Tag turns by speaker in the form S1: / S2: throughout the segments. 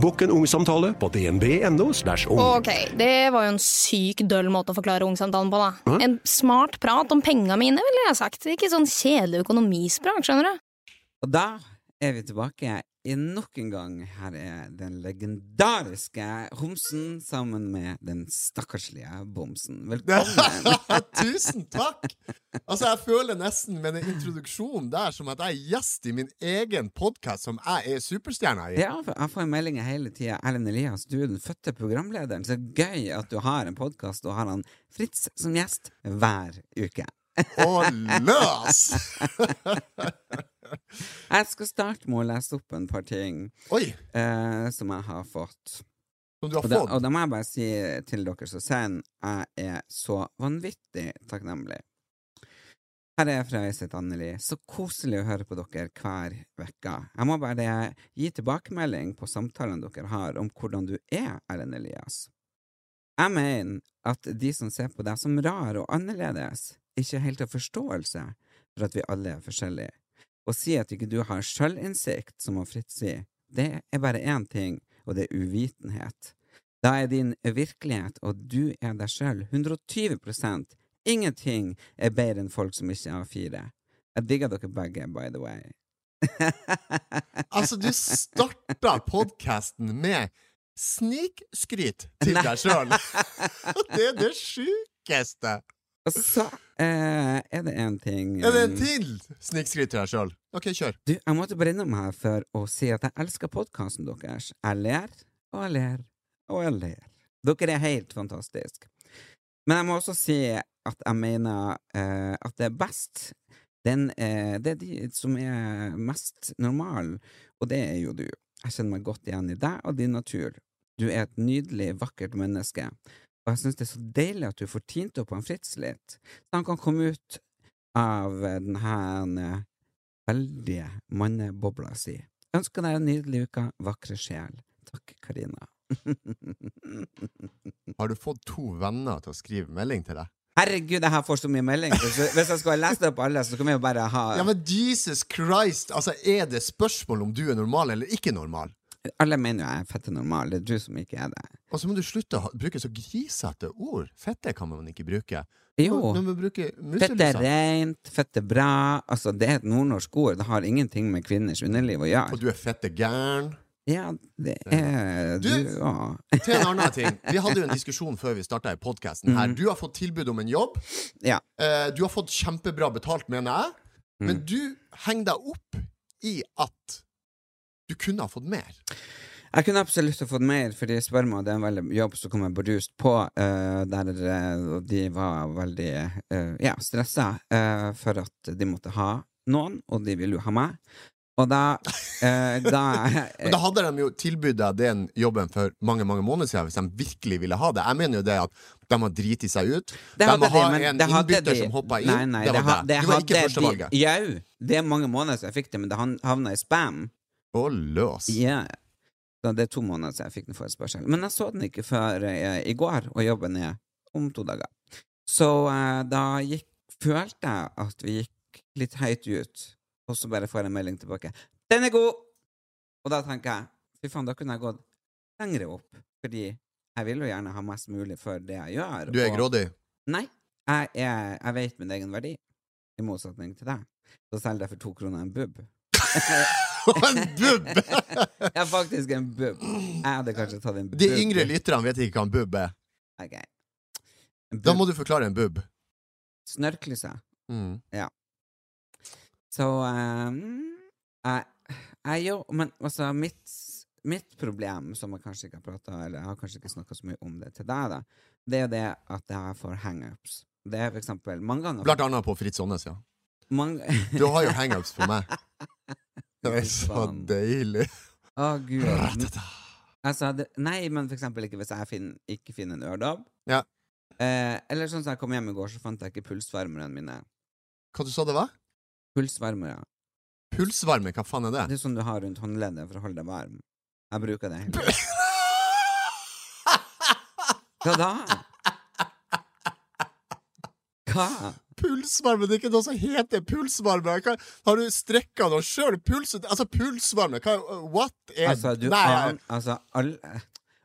S1: Bokk en ungsamtale på dnb.no. slash ung.
S2: Ok, det var jo en syk døll måte å forklare ungsamtalen på, da. En smart prat om penga mine, ville jeg ha sagt. Ikke sånn kjedelig økonomispråk, skjønner du.
S3: Og da er vi tilbake i nok en gang. Her er den legendariske homsen sammen med den stakkarslige bomsen. Velkommen!
S4: Tusen takk! Altså, jeg føler nesten med den introduksjonen der som at jeg er gjest i min egen podkast som jeg er superstjerna i.
S3: Ja, for jeg får meldinger hele tida. Erlend Elias, du er den fødte programlederen. Så gøy at du har en podkast og har han Fritz som gjest hver uke.
S4: Og løs!
S3: Jeg skal starte med å lese opp en par ting
S4: Oi,
S3: eh, som jeg har fått.
S4: som du har
S3: Og da, og
S4: fått.
S3: da må jeg bare si til dere som sender, jeg er så vanvittig takknemlig. Her er jeg fra Øystein Anneli. Så koselig å høre på dere hver uke. Jeg må bare gi tilbakemelding på samtalene dere har om hvordan du er, Erlend Elias. Jeg mener at de som ser på deg som rar og annerledes, ikke helt har forståelse for at vi alle er forskjellige. Å si at ikke du har sjølinnsikt, som han Fritz sier, det er bare én ting, og det er uvitenhet. Da er din virkelighet og du er deg sjøl 120 Ingenting er bedre enn folk som ikke har fire. Jeg digger dere begge, by the way.
S4: Altså, du starta podkasten med snikskryt til deg sjøl. Det er det sjukeste!
S3: Og så eh, er det én ting
S4: Er det
S3: eh,
S4: en til snikskryt til deg sjøl? OK, kjør.
S3: Du, jeg måtte bare innom her for å si at jeg elsker podkasten deres. Jeg ler og jeg ler og jeg ler. Dere er helt fantastiske. Men jeg må også si at jeg mener eh, at det er best den, eh, Det er de som er mest normal, og det er jo du. Jeg kjenner meg godt igjen i deg og din natur. Du er et nydelig, vakkert menneske, og jeg synes det er så deilig at du får tint opp han Fritz litt, så han kan komme ut av eh, den her eh, veldige mannebobla si. Ønsker deg en nydelig uke, vakre sjel. Takk, Karina.
S4: Har du fått to venner til å skrive melding til deg?
S3: Herregud, jeg her får så mye melding. Hvis hvis jeg skulle lest opp alle, så kunne jeg jo bare ha
S4: Ja, men Jesus Christ! Altså, er det spørsmål om du er normal eller ikke normal?
S3: Alle mener jo jeg er fette normal. Det er du som ikke er det.
S4: Og så må du slutte å ha- bruke så grisete ord. Fette kan man ikke bruke.
S3: Jo.
S4: Nå må du sånn. bruke
S3: Fett er
S4: muselusa.
S3: reint, fett er bra. Altså, det er et nordnorsk ord. Det har ingenting med kvinners underliv å
S4: Og
S3: gjøre.
S4: du er fette gæren.
S3: Ja, det er du
S4: Du-
S3: òg.
S4: Til en annen ting. Vi hadde jo en diskusjon før vi starta i podkasten her. Du har fått tilbud om en jobb.
S3: Mhm. Ja.
S4: Eh, Du har fått kjempebra betalt, mener jeg.
S3: Mhm.
S4: Men du henger deg opp i at du kunne ha fått mer.
S3: Jeg kunne absolutt ha fått mer, fordi spør meg, det er en veldig jobb som kommer bardust på, eh, der eh, og de var veldig eh, ja, stressa eh, for at de måtte ha noen, og de ville jo ha meg. Og da, eh, da
S4: Men da hadde de jo tilbudt deg den jobben for mange mange måneder siden hvis de virkelig ville ha det. Jeg mener jo det at de har driti seg ut.
S3: Det
S4: de
S3: hadde
S4: må ha
S3: men
S4: en
S3: det hadde
S4: innbytter
S3: de.
S4: som hoppa inn.
S3: Nei, nei,
S4: det var
S3: ha-
S4: deg. Du var ikke
S3: hadde
S4: førstevalget.
S3: de- Jau. Det er mange måneder siden jeg fikk det, men det han- havna i spam.
S4: Og løs.
S3: Ja. Så det er to måneder siden jeg fikk den forespørselen. Men jeg så den ikke før eh, i går, og jobben er om to dager. Så eh, da gikk, følte jeg at vi gikk litt høyt ut, og så bare får jeg en melding tilbake. 'Den er god!' Og da tenker jeg fy faen, da kunne jeg gått lengre opp, fordi jeg vil jo gjerne ha mest mulig for det jeg gjør.
S4: Du er
S3: og-
S4: grådig.
S3: Nei, jeg, er, jeg vet min egen verdi, i motsetning til deg. Så selger jeg for to kroner en bubb.
S4: Og en bubb!
S3: Jeg er faktisk en bubb. Jeg hadde kanskje tatt en bubb.
S4: De yngre lytterne vet ikke hva en bubb er.
S3: Ok. En
S4: Da
S3: bubb
S4: må du forklare en bubb.
S3: snørkler seg.
S4: Mm.
S3: Så eh, mm, Jeg, jeg jo, men altså, mitt, mitt problem, som jeg kanskje ikke har prata eller jeg har kanskje ikke snakka så mye om det til deg, da, det er det at jeg får hangups. Det er for eksempel mange ganger
S4: Blant annet på Fritz Aanes, ja.
S3: mange,
S4: Du har jo hangups for meg. Det er så
S3: Faen.
S4: deilig.
S3: Å, gud. Altså, det, nei, men for eksempel ikke hvis jeg finn, ikke finner en ørdobb.
S4: Ja.
S3: Eh, eller sånn som jeg kom hjem i går, så fant jeg ikke pulsvarmerne mine.
S4: Hva du sa det var?
S3: Pulsvarmere.
S4: Pulsvarme, hva faen er det?
S3: Det er sånn du har rundt håndleddet for å holde deg varm. Jeg bruker det. hele tiden. Hva da? Hva?
S4: Pulsvarme, det er ikke noe som heter pulsvarme. Hva, har du strekka noe sjøl? Puls, altså, pulsvarme, hva, what er
S3: Altså, du
S4: Nei,
S3: an... Altså, alle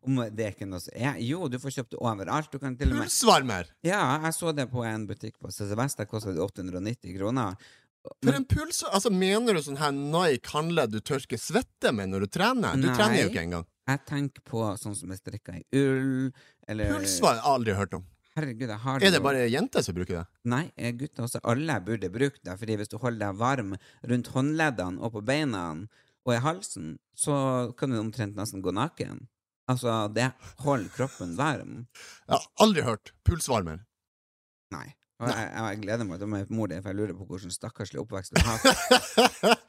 S3: Om det er ikke noe som er Jo, du får kjøpt det overalt. Du kan til og med
S4: pulsvarmer!
S3: Ja, jeg så det på en butikk på CC Vest. Der kosta det 890 kroner.
S4: For en puls, altså Mener du sånn her Nike håndledd du tørker svette med når du trener? Du
S3: Nei.
S4: trener jo ikke engang.
S3: Jeg tenker på sånn som er strikka i ull, eller
S4: Pulsvarme har jeg aldri hørt om.
S3: Herregud, jeg har
S4: Er det
S3: jo-
S4: bare jenter som bruker det?
S3: Nei, eh, gutter også. Alle burde bruke det, fordi hvis du holder deg varm rundt håndleddene og på beina og i halsen, så kan du omtrent nesten gå naken. Altså, det holder kroppen varm.
S4: Jeg har aldri hørt pulsvarmer.
S3: Nei. Og jeg, jeg gleder meg til å møte mor di, for jeg lurer på hvordan stakkarslig oppvekst hun har hatt.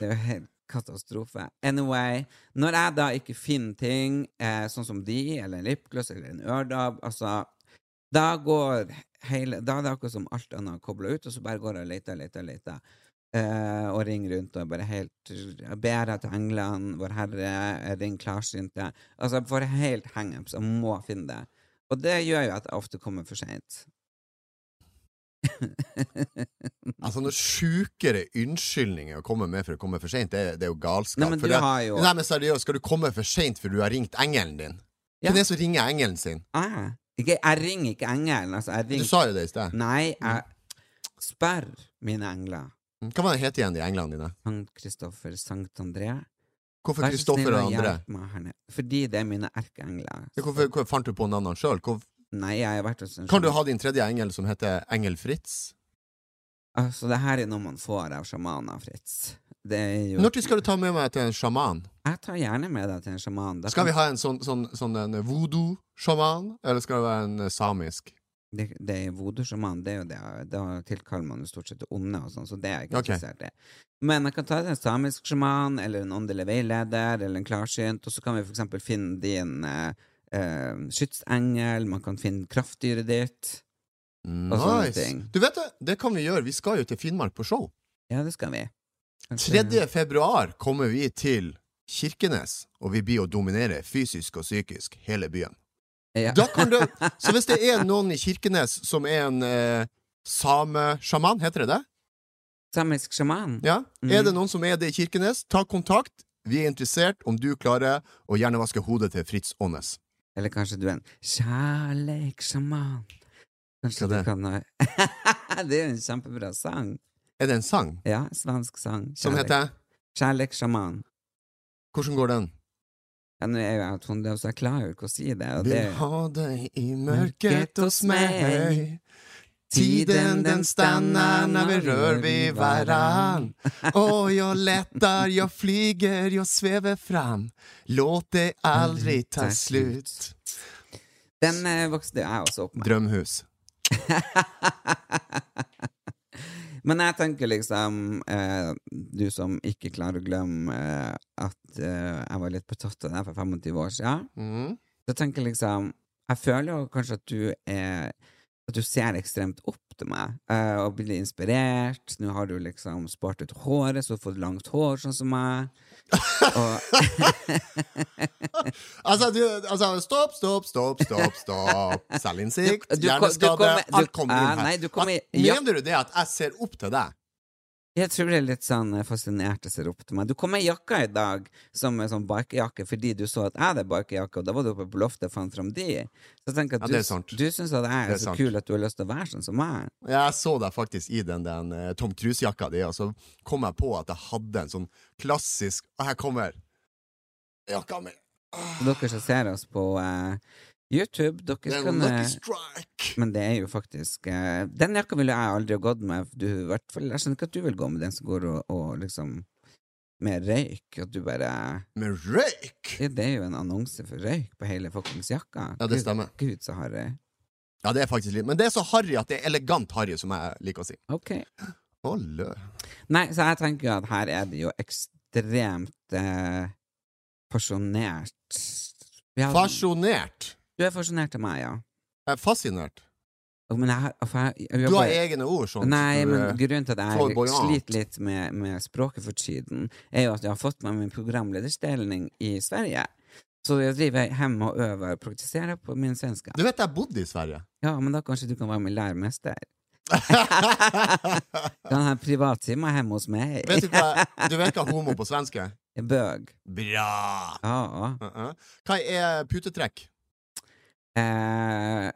S3: Det er jo helt katastrofe. Anyway, når jeg da ikke finner ting, eh, sånn som de, eller en lipgloss, eller en ørdab, altså Da går hele Da er det akkurat som alt annet kobla ut, og så bare går jeg og leter, leter, leter. Eh, og ringer rundt og bare helt Jeg ber jeg til englene, Vårherre, ring klarsynte Altså, jeg får helt hangups og må finne det. Og det gjør jo at jeg ofte kommer for seint.
S4: Altså Noen sjukere unnskyldninger å komme med for å komme for seint, det, det er jo galskap.
S3: Nei, men
S4: For
S3: du
S4: det-
S3: har jo-
S4: Nei, men seriøst, skal du komme for seint for du har ringt engelen din?
S3: Ja.
S4: Hvem er det som ringer engelen sin?
S3: Ah, ikke, jeg ringer ikke engelen, altså. Jeg
S4: Du
S3: ringer
S4: sa jo det i sted.
S3: Nei, jeg spør mine engler.
S4: Mm. Hva var det het igjen, de englene dine?
S3: Sankt Kristoffer, Sankt André.
S4: Hvorfor
S3: Vær så snill
S4: Kristoffer og André?
S3: hjelp meg her nede. Fordi det er mine erkeengler.
S4: Ja, Hvorfor, hvorfor fant du på navnene sjøl?
S3: Nei, jeg har vært hos en
S4: Kan du ha din tredje engel som heter Engel Fritz?
S3: Altså, det her er noe man får av sjamaner, Fritz. Det er jo
S4: Når skal du ta med meg til en sjaman?
S3: Jeg tar gjerne med deg til en sjaman. Da
S4: Skal vi
S3: kan-
S4: ha en sånn, sånn, sånn en voodoo-sjaman, eller skal det være en eh, samisk?
S3: Det, det er voodoo-sjaman, det er jo det. Da tilkaller man jo stort sett onde og sånn, så det er jeg ikke
S4: Ok.
S3: interessert i. Men jeg kan ta en samisk sjaman, eller en åndelig veileder, eller en klarsynt, og så kan vi for eksempel finne din eh, eh, skytsengel, man kan finne kraftdyret ditt. Og sånne
S4: Nice!
S3: ting.
S4: Du vet det, det kan vi gjøre. Vi skal jo til Finnmark på show.
S3: Ja, det skal vi. Kanskje-
S4: 3. februar kommer vi til Kirkenes, og vi blir å dominere fysisk og psykisk hele byen.
S3: Ja.
S4: Da kan du, så hvis det er noen i Kirkenes som er en eh, samesjaman, heter det det?
S3: Samisk sjaman?
S4: Ja? Er
S3: Mhm.
S4: det noen som er det i Kirkenes, ta kontakt. Vi er interessert om du klarer å hjernevaske hodet til Fritz Aanes.
S3: Eller kanskje du er en kjærleikssjaman? Kanskje
S4: Hva
S3: du
S4: det?
S3: kan ha Det er jo en kjempebra sang.
S4: Er det en sang
S3: Ja, svensk sang.
S4: som
S3: Kjærleik-
S4: heter
S3: Kjærleikssjaman.
S4: Hvordan går den?
S3: Ja, nå er jo jeg tonedøv, så jeg klarer jo ikke å si det. Og det
S4: Vil ha deg i mørket hos meg. Tiden den stannar när vi rör vid varann Och jag lättar, jag flyger, jag svävar fram Låt det aldrig ta slut
S3: Den eh, vokste jo jeg også opp med.
S4: Drømhus.
S3: Men jeg tenker liksom, eh, du som ikke klarer å glemme eh, at eh, jeg var litt betatt av deg for 25 år siden,
S4: Mm.
S3: så tenker jeg liksom Jeg føler jo kanskje at du er at du ser ekstremt opp til meg, eh, og blir inspirert. Nå har du liksom spart ut håret, så du har fått langt hår, sånn som meg. Og,
S4: Altså, du, altså, stopp, stopp, stopp, stopp, stopp. Selvinnsikt,
S3: Du- du kom- du
S4: hjerneskade,
S3: kommer- du-
S4: alt kommer inn
S3: Ah, nei, du
S4: her.
S3: kommer-
S4: At-
S3: ja.
S4: Mener du det at jeg ser opp til deg?
S3: Jeg tror det er litt sånn eh, fascinert og ser opp til meg. Du kom med jakka i dag, som en sånn bikejakke, fordi du så at jeg hadde bikejakke, og da var du oppe på loftet og fant fram de. Så jeg tenker
S4: Ja,
S3: at
S4: det er sant.
S3: du, du syns at jeg
S4: Det
S3: er,
S4: er
S3: så
S4: sant.
S3: kul at du har lyst til å være sånn som meg.
S4: Jeg så deg faktisk i den, den eh, Tom Cruise-jakka di, og så kom jeg på at jeg hadde en sånn klassisk Og her kommer jakka mi.
S3: Så dere som ser oss på eh, YouTube, dere
S4: Den
S3: kan eh,
S4: Lucky Strike.
S3: Men det er jo faktisk eh, Den jakka ville jeg aldri ha gått med. Du, i hvert fall, jeg skjønner ikke at du vil gå med den som går og, og liksom med røyk, og du bare
S4: Med røyk!
S3: Ja, Det er jo en annonse for røyk på hele fuckings jakka.
S4: Ja, det stemmer.
S3: Gud, gud, så harry.
S4: Ja, det er faktisk litt Men det er så harry at det er elegant harry, som jeg liker å si.
S3: Ok.
S4: Å, lø.
S3: Nei, så jeg tenker jo at her er det jo ekstremt eh, fasjonert. Ja,
S4: Fasjonert.
S3: Du er fasjonert til meg, ja.
S4: Jeg er fascinert.
S3: Og- Men jeg har for jeg, jeg
S4: Du
S3: jobber-
S4: har egne ord, sånn.
S3: Nei,
S4: som du,
S3: men
S4: eh,
S3: grunnen til at jeg
S4: flamboyant.
S3: sliter litt med, med språket for tiden, er jo at jeg har fått meg min programlederstilling i Sverige. Så jeg driver hjem og øver og praktiserer på min svenska.
S4: Du vet jeg bodde i Sverige.
S3: Ja, men da kanskje du kan være min læremester? Kan ha en privattime hjemme hos meg?
S4: vet du, hva, du vet hva homo på svensk er?
S3: Bøg.
S4: Bra!
S3: Ja.
S4: Uh -uh. Hva er putetrekk?
S3: Eh,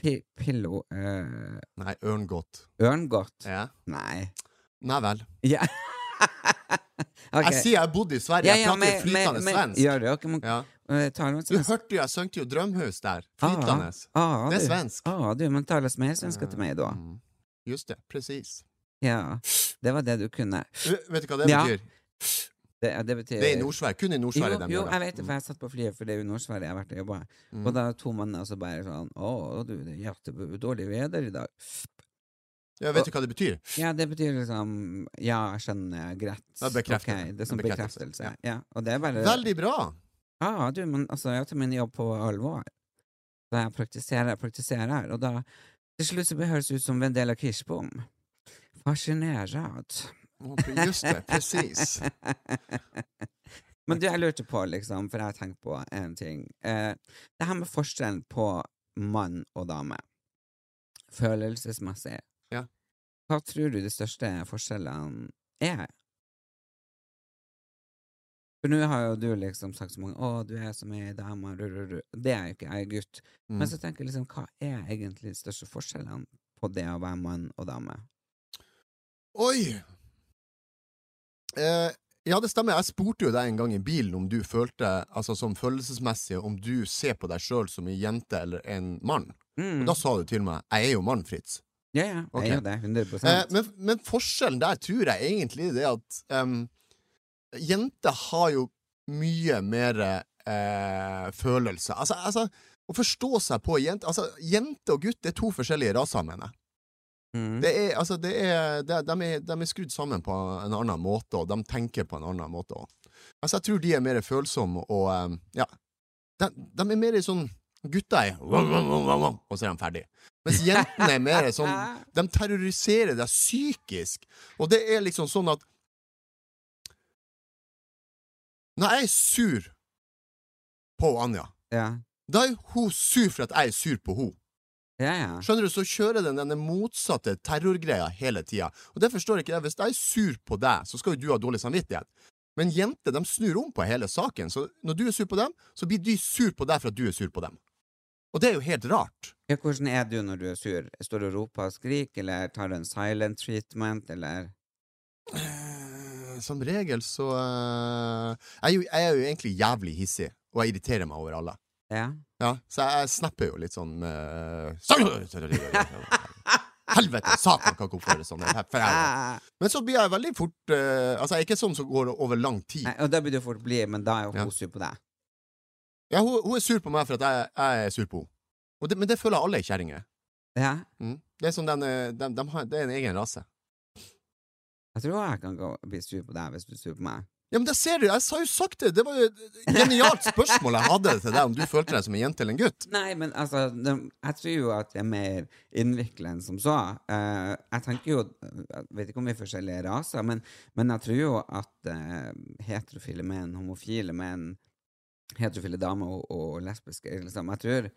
S3: pi, pillo eh,
S4: Nei, ørngodt.
S3: Ørngodt?
S4: Ja.
S3: Nei.
S4: Nei vel.
S3: Ja. Ok.
S4: Jeg sier jeg bodde i Sverige.
S3: Ja,
S4: Jeg
S3: ja,
S4: prater jo
S3: men-
S4: flytende
S3: men- men-
S4: svensk.
S3: Gjør du? Ok, men
S4: Ja.
S3: eh, taler man
S4: Du
S3: svensk?
S4: hørte jo jeg søngte jo Drømhus der. Flytende.
S3: Ah, Ja, Ah,
S4: Det er
S3: du.
S4: svensk.
S3: Ja, du, men taler mer svenska til meg da?
S4: Mm. Just det. Presis.
S3: Ja. Det var det du kunne.
S4: Vet vet du hva det
S3: Ja.
S4: betyr?
S3: Det, det betyr
S4: Det er i Nord-Sverige. Kun i Nord-Sverige. de
S3: Jo, jo,
S4: gjør
S3: jeg vet det, for jeg satt på flyet, for det er jo Nord-Sverige jeg har vært og jobba.
S4: Mm.
S3: Og da to mann og så bare sånn Å, du, det er jättedårlig vær i dag.
S4: Ja, vet du hva det betyr?
S3: Ja, det betyr liksom Ja, jeg skjønner, greit.
S4: Ja, bekreftelse.
S3: Ok, det er som
S4: En bekreftelse,
S3: bekreftelse. Ja. og det er bare
S4: Veldig bra!
S3: Ja, du, men altså, jeg tar min jobb på alvor. Så jeg praktiserer, praktiserer, og da til slutt så høres det ut som Vendela Kirschbom. Fascinerad.
S4: Just det. Presis.
S3: Men du, jeg lurte på, liksom, for jeg har tenkt på en ting. Eh, det her med forskjellen på mann og dame, følelsesmessig,
S4: Ja.
S3: hva tror du de største forskjellene er? For nå har jo du liksom sagt så mange 'Å, du er som ei dame', ru, ru, ru. Det er jo ikke jeg, er gutt.
S4: Mm.
S3: Men så tenker jeg liksom, hva er egentlig de største forskjellene på det å være mann og dame?
S4: Oi! Eh, ja, det stemmer. Jeg spurte jo deg en gang i bilen om du følte, altså som følelsesmessig, om du ser på deg sjøl som ei jente eller en mann.
S3: Mm.
S4: Og da sa du til meg 'jeg er jo mann, Fritz'.
S3: Ja, ja,
S4: Ok.
S3: jeg er jo det. 100
S4: Eh, men, men forskjellen der tror jeg egentlig det er at em, jenter har jo mye mer eh, følelser. Altså, altså, å forstå seg på jenter Altså, jente og gutt er to forskjellige raser, mener jeg.
S3: Mm.
S4: Det er, altså, det er, det, de, er, de er skrudd sammen på en annen måte, og de tenker på en annen måte òg. Altså, jeg tror de er mer følsomme og eh, Ja. De, de er mer sånn Gutta er «Wow, wow, wow, wow, wow», Og så er de ferdige. Mens jentene er mer sånn De terroriserer deg psykisk. Og det er liksom sånn at Når jeg er sur på Anja,
S3: Ja,
S4: da er hun sur for at jeg er sur på henne.
S3: ja. ja.
S4: Skjønner du, så kjører den denne motsatte terrorgreia hele tida. Og det forstår jeg ikke jeg. Hvis jeg er sur på deg, så skal jo du ha dårlig samvittighet. Men jenter de snur om på hele saken, så når du er sur på dem, så blir de sur på deg for at du er sur på dem. Og det er jo helt rart.
S3: Ja, hvordan er du når du er sur? Står du og roper og skriker, eller tar du en silent treatment, eller
S4: Eh, Som regel så eh, jeg, er jo, jeg er jo egentlig jævlig hissig, og jeg irriterer meg over alle.
S3: Ja.
S4: Ja, så jeg snapper jo litt sånn med Helvete! Satan kan ikke oppføre sånn. For helvete.
S3: Ah!
S4: Men så blir jeg veldig fort eh, Altså, jeg er ikke sånn som går over lang tid.
S3: Nei, og da blir du fort blid, men da er jo
S4: Ja.
S3: hun sur på deg.
S4: Ja, hun, hun er sur på meg for at jeg, jeg er sur på henne. Og det, men det føler alle kjerringer.
S3: Ja.
S4: Mm. Det er sånn den, eh, dem- dem har, det er en egen rase.
S3: Jeg tror jeg kan gå, bli sur på deg hvis du er sur på meg.
S4: Ja, men det ser du! Jeg sa jo sagt det! Det var jo et genialt spørsmål jeg hadde til deg, om du følte deg som en jente eller en gutt.
S3: Nei, men altså, det- jeg tror jo at jeg er mer innvikla enn som så. Eh, jeg tenker jo Jeg vet ikke om vi er forskjellige raser, men, men jeg tror jo at eh, heterofile menn, homofile menn, heterofile damer og, og lesbiske liksom, jeg, tror,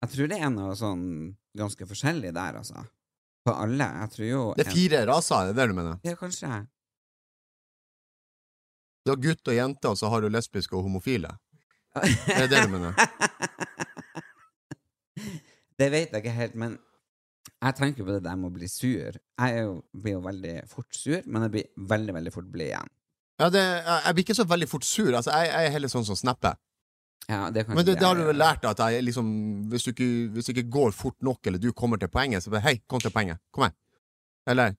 S3: jeg tror det er noe sånn ganske forskjellig der, altså. På alle. Jeg tror jo
S4: Det er fire raser, er det det du mener?
S3: en- Ja, kanskje.
S4: Du har gutt og jente, og så har du lesbiske og homofile. Er det det du mener?
S3: Det vet jeg ikke helt, men jeg tenker jo på det der med å bli sur. Jeg er jo, blir jo veldig fort sur, men jeg blir veldig, veldig fort blid igjen.
S4: Ja, det, jeg jeg blir ikke så veldig fort sur. Altså, jeg, jeg er heller sånn som snapper.
S3: Ja, det er kanskje
S4: Men det, det har
S3: jeg
S4: du
S3: gjør.
S4: vel lært, at jeg liksom hvis du, ikke, hvis du ikke går fort nok, eller du kommer til poenget, så bare Hei, kom til poenget. Kom her. Eller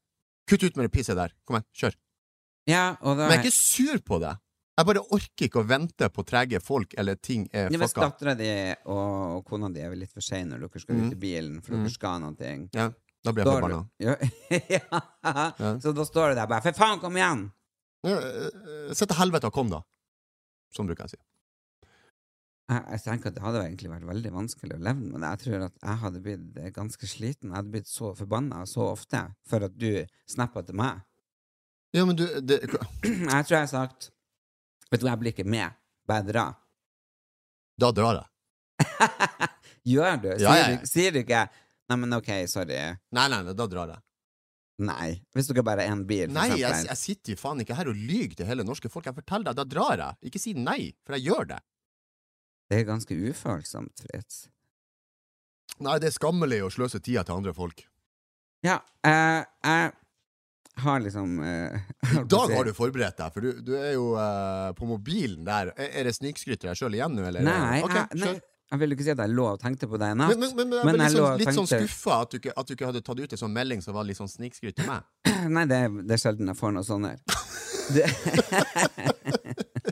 S4: Kutt ut med det pisset der. Kom her, kjør.
S3: Ja, og da
S4: Men jeg er ikke sur på det. Jeg bare orker ikke å vente på trege folk eller ting er
S3: Ja, hvis
S4: fucka.
S3: dattera di og, og kona di er vel litt for seine når dere
S4: Mhm.
S3: skal ut i bilen for dere skal noe
S4: Ja, da blir jeg
S3: Står
S4: forbanna.
S3: du- ja. ja. Så da står du der bare 'for faen, kom igjen'!
S4: Ja, eh, Se til helvete og kom, da. Sånn bruker jeg å si.
S3: Jeg, jeg tenker at Det hadde egentlig vært veldig vanskelig å leve med det. Jeg tror at jeg hadde blitt eh, ganske sliten. Jeg hadde blitt så forbanna så ofte for at du snappa til meg.
S4: Ja, men du det,
S3: Jeg tror jeg har sagt 'Vet du hva, jeg blir ikke med. Bare dra'.
S4: Da drar jeg.
S3: Gjør du? Sier,
S4: Ja, ja, ja.
S3: Du, sier du ikke 'Nei, men ok, sorry'.
S4: Nei, nei, nei, da drar jeg.
S3: Nei. Hvis dere bare er en bil, for
S4: Nei, jeg,
S3: eksempel.
S4: jeg sitter jo faen ikke her og lyver til hele norske folk. Jeg forteller deg, da drar jeg. Ikke si nei, for jeg gjør det.
S3: Det er ganske ufølsomt, Fritz.
S4: Nei, det er skammelig å sløse tida til andre folk.
S3: Ja, eh, jeg har liksom eh,
S4: I dag har du forberedt deg, for du, du er jo eh, på mobilen der. Er, er det snikskryt til deg sjøl igjen nå, eller?
S3: Nei,
S4: Ok,
S3: jeg, nei,
S4: kjør.
S3: jeg vil jo ikke si at jeg lå og tenkte på det i natt.
S4: Men, men, men, jeg
S3: Men
S4: ble
S3: jeg
S4: litt
S3: lå
S4: sånn,
S3: og
S4: litt sånn
S3: tenkte-
S4: skuffa at, du ikke- at du ikke hadde tatt ut en sånn melding som var litt sånn snikskryt til meg.
S3: Nei, det, er- det er sjelden jeg får noe sånt her. Det-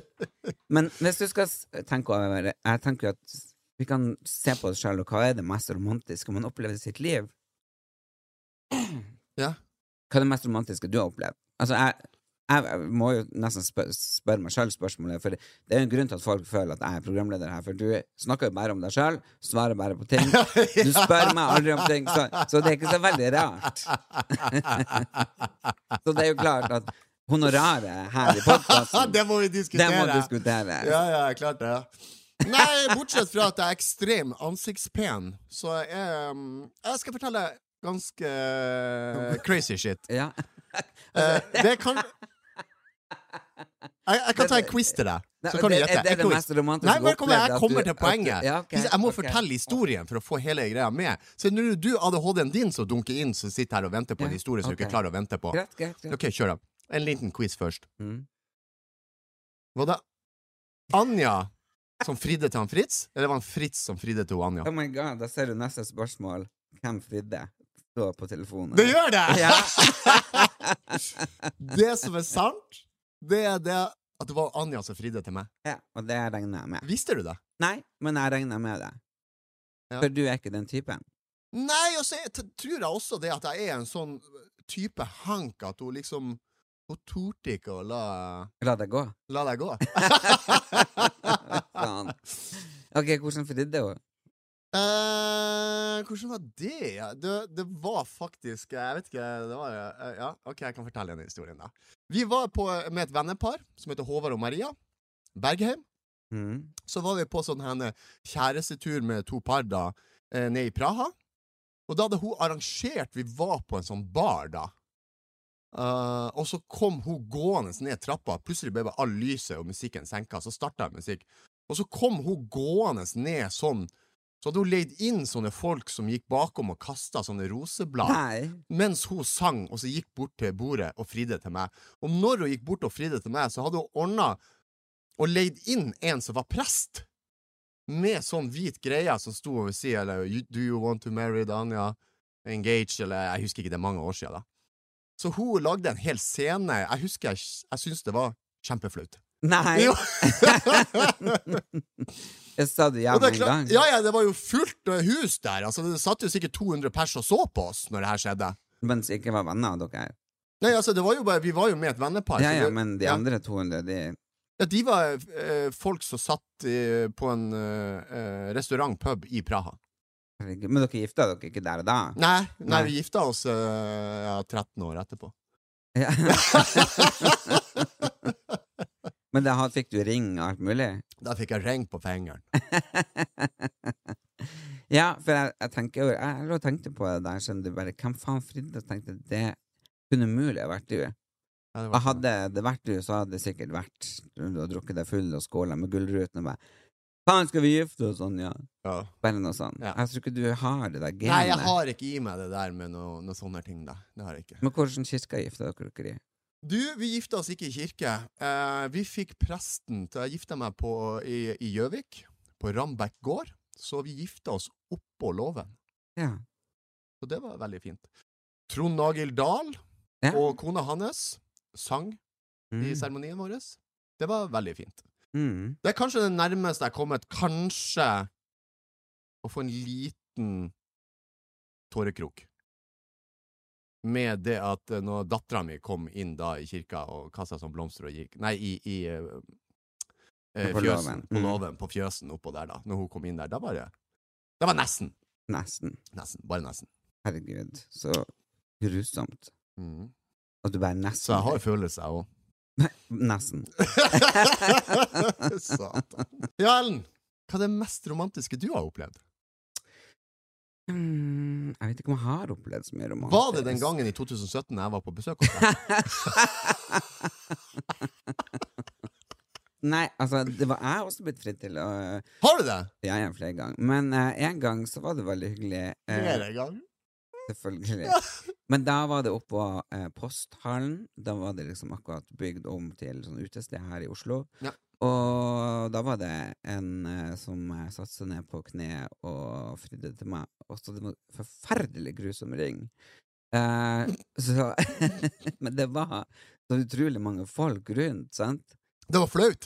S3: Men hvis du skal s- tenke over det, Jeg tenker jo at vi kan se på oss sjøl, og hva er det mest romantiske man opplever i sitt liv?
S4: Ja.
S3: Hva er det mest romantiske du har opplevd? Altså, jeg, jeg, jeg må jo nesten spør- spørre meg sjøl spørsmålet, for det er jo en grunn til at folk føler at jeg er programleder her, for du snakker jo bare om deg sjøl, svarer bare på ting. Du spør meg aldri om ting, så, så det er ikke så veldig rart. så det er jo klart at honoraret her i podkasten,
S4: det må vi
S3: det
S4: diskutere!
S3: må diskuteres.
S4: Ja, ja, klart det. Nei, bortsett fra at jeg er ekstrem ansiktspen, så jeg, um, jeg skal fortelle ganske crazy shit.
S3: Ja.
S4: Eh,
S3: Altså,
S4: det kan jeg, jeg kan ta en quiz til deg.
S3: Nei,
S4: Så kan du
S3: det-
S4: gjette.
S3: er det
S4: En
S3: det
S4: quiz.
S3: mest romantiske
S4: Nei, men kommer,
S3: opplevd at
S4: jeg
S3: du-
S4: kommer til
S3: at du-
S4: poenget.
S3: ja, ok,
S4: Hvis Jeg må
S3: ok.
S4: fortelle historien for å få hele greia med. Så nå er det du, ADHD-en din, som dunker inn, som sitter her og venter på en
S3: Ja,
S4: historie som du
S3: ok.
S4: ikke klarer å vente på.
S3: Greit, greit, greit.
S4: Ok, kjør da. En liten quiz først.
S3: Mm.
S4: Var det Anja som fridde til han Fritz, eller var han Fritz som fridde til hun
S3: Oh
S4: Anja?
S3: my god, da ser du neste spørsmål. Hvem fridde? Stå på telefonen.
S4: Det gjør det!
S3: Ja.
S4: Det som er sant, det er det at det var Anja som fridde til meg.
S3: ja, og det regner jeg med.
S4: Visste du det?
S3: Nei, men jeg regner med det.
S4: Ja.
S3: For du er ikke den typen.
S4: Nei, og så er- t- tror jeg også det at jeg er en sånn type hank at hun liksom Hun torde ikke å la,
S3: La det gå.
S4: la deg gå.
S3: Sånn. Ok, hvordan fridde hun?
S4: Eh, hvordan var det? ja? det? Det var faktisk Jeg vet ikke det var, eh, ja, Ok, jeg kan fortelle en historie. da Vi var på, med et vennepar som heter Håvard og Maria Bergheim.
S3: Mm.
S4: Så var vi på sånn her kjærestetur med to par da eh, ned i Praha. Og da hadde hun arrangert Vi var på en sånn bar da. Eh, og så kom hun gående ned trappa. Plutselig ble bare all lyset og musikken senka. Så starta musikk. Og så kom hun gående ned sånn. Så hadde hun leid inn sånne folk som gikk bakom og kasta sånne roseblad
S3: Nei.
S4: mens hun sang, og så gikk bort til bordet og fridde til meg. Og når hun gikk bort og fridde til meg, så hadde hun ordna og leid inn en som var prest, med sånn hvit greie som sto over sida, eller «You- Do you want to marry Danja? Engage, eller Jeg husker ikke, det er mange år siden, da. Så hun lagde en hel scene. Jeg husker jeg, jeg syns det var kjempeflaut.
S3: Nei.
S4: Jo.
S3: Jeg sa du ja
S4: Og det
S3: med
S4: er
S3: en
S4: klart-
S3: gang?
S4: ja, ja, det var jo fullt eh, hus der. Altså, det satt jo sikkert 200 pers og så på oss når det her skjedde.
S3: Mens jeg ikke var venner av dere?
S4: Nei, altså, det var jo bare, Vi var jo med et vennepar.
S3: Ja,
S4: så
S3: ja,
S4: det-
S3: men de
S4: ja.
S3: andre 200, de
S4: Ja, de var eh, folk som satt eh, på en eh, eh, restaurant, pub, i Praha.
S3: Herregud, Men dere gifta dere ikke der og da?
S4: Nei, nei,
S3: Nei.
S4: vi gifta oss eh, ja, 13 år etterpå.
S3: Ja. men da fikk du ring og alt mulig?
S4: Da fikk jeg ring på fingeren.
S3: Ja, for jeg, jeg tenker jo Jeg, jeg lå og tenkte på det der, skjønner du, bare hvem faen fridde? Jeg tenkte det kunne umulig ha vært du.
S4: Ja, det var sånn,
S3: Og hadde det vært du, så hadde det sikkert vært du har drukket deg full og skåla med gullruten og bare Faen, skal vi gifte oss sånn, ja?
S4: ja.
S3: Bare noe sånt.
S4: Ja.
S3: Jeg tror ikke du har det der genet.
S4: Nei, jeg har ikke i meg det der med noe, noe sånne ting, da. Det har jeg ikke.
S3: Men hvordan kirke gifta dere dere i?
S4: Du, vi gifta oss ikke i kirke. Eh, vi fikk presten til Jeg gifta meg på, i i Gjøvik, på Rambekk gård. Så vi gifta oss oppå låven.
S3: Ja.
S4: Så det var veldig fint. Trond Nagel Dahl
S3: ja.
S4: og kona hans sang i
S3: Mm.
S4: seremonien vår. Det var veldig fint.
S3: Mm.
S4: Det er kanskje det nærmeste jeg er kommet, kanskje, å få en liten tårekrok. Med det at eh, når dattera mi kom inn da i kirka og kasta som blomster og gikk Nei, i, i eh, eh,
S3: På
S4: fjøsen.
S3: låven.
S4: På
S3: Mm.
S4: låven. På fjøsen oppå der, da. Når hun kom inn der, da var det Det var nesten.
S3: Nesten.
S4: Nesten. Bare nesten.
S3: Herregud, så grusomt. Mm. At du bare nesten
S4: Så jeg har følelser, jeg òg.
S3: Nesten.
S4: Satan. Ja, Ellen, hva er det mest romantiske du har opplevd?
S3: Mm, jeg vet ikke om jeg har opplevd så mye romantisk.
S4: Var det den gangen i 2017 jeg var på besøk hos deg?
S3: Nei, altså, det var jeg også blitt fritt til å
S4: Har du det?
S3: Ja, ja, flere ganger. Men eh, en gang så var det veldig hyggelig. eh,
S4: gang.
S3: Selvfølgelig. Men da var det oppå eh, posthallen. Da var det liksom akkurat bygd om til sånn utested her i Oslo.
S4: Ja.
S3: Og da var det en eh, som eh, satte seg ned på kne og fridde til meg. Og så det var en forferdelig grusom ring. Eh, så Men det var så utrolig mange folk rundt, sant?
S4: Det var flaut.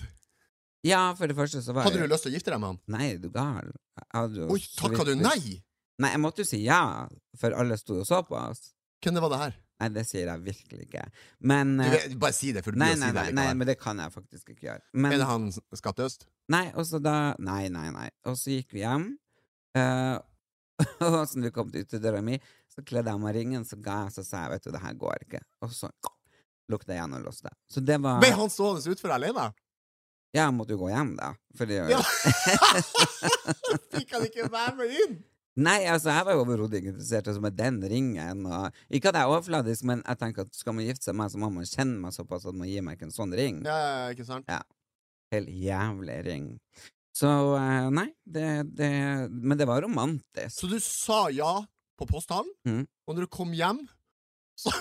S3: Ja, for det første så var
S4: Hadde du lyst til å gifte deg med han?
S3: Nei, er du gal? Jeg hadde jo
S4: Oi,
S3: så
S4: takka du
S3: vidt-
S4: nei?
S3: Nei, jeg måtte jo si ja, for alle sto og så på oss.
S4: Hvem det var det her?
S3: Nei, det sier jeg virkelig ikke. Men
S4: Du,
S3: eh,
S4: vet- bare si det, for du
S3: nei,
S4: blir å
S3: nei,
S4: si
S3: nei,
S4: det
S3: nei,
S4: likevel.
S3: men det kan jeg faktisk ikke gjøre. Men,
S4: Er det han Skattøst?
S3: Nei, og så da Nei, nei, nei. Og så gikk vi hjem, eh, og så når vi kom til ytterdøra mi, så kledde jeg meg i ringen, så ga jeg, så sa jeg vet du, det her går ikke. Og så lukta jeg igjen og låste. Så det var
S4: Ble han stående utfor alene?
S3: Ja, jeg måtte jo gå hjem, da. For det,
S4: Ja. Fikk han ikke være med inn?
S3: Nei, altså, jeg var jo overhodet ikke interessert altså, med den ringen. Og, ikke at jeg er overfladisk, men jeg tenker at skal man gifte seg med meg, så må man kjenne meg såpass at man gir meg ikke en sånn ring.
S4: Ja, ja, ja, ikke sant?
S3: Helt jævlig ring. Så eh, nei, det, det Men det var romantisk.
S4: Så du sa ja på posthallen,
S3: Mhm.
S4: og når du kom hjem, så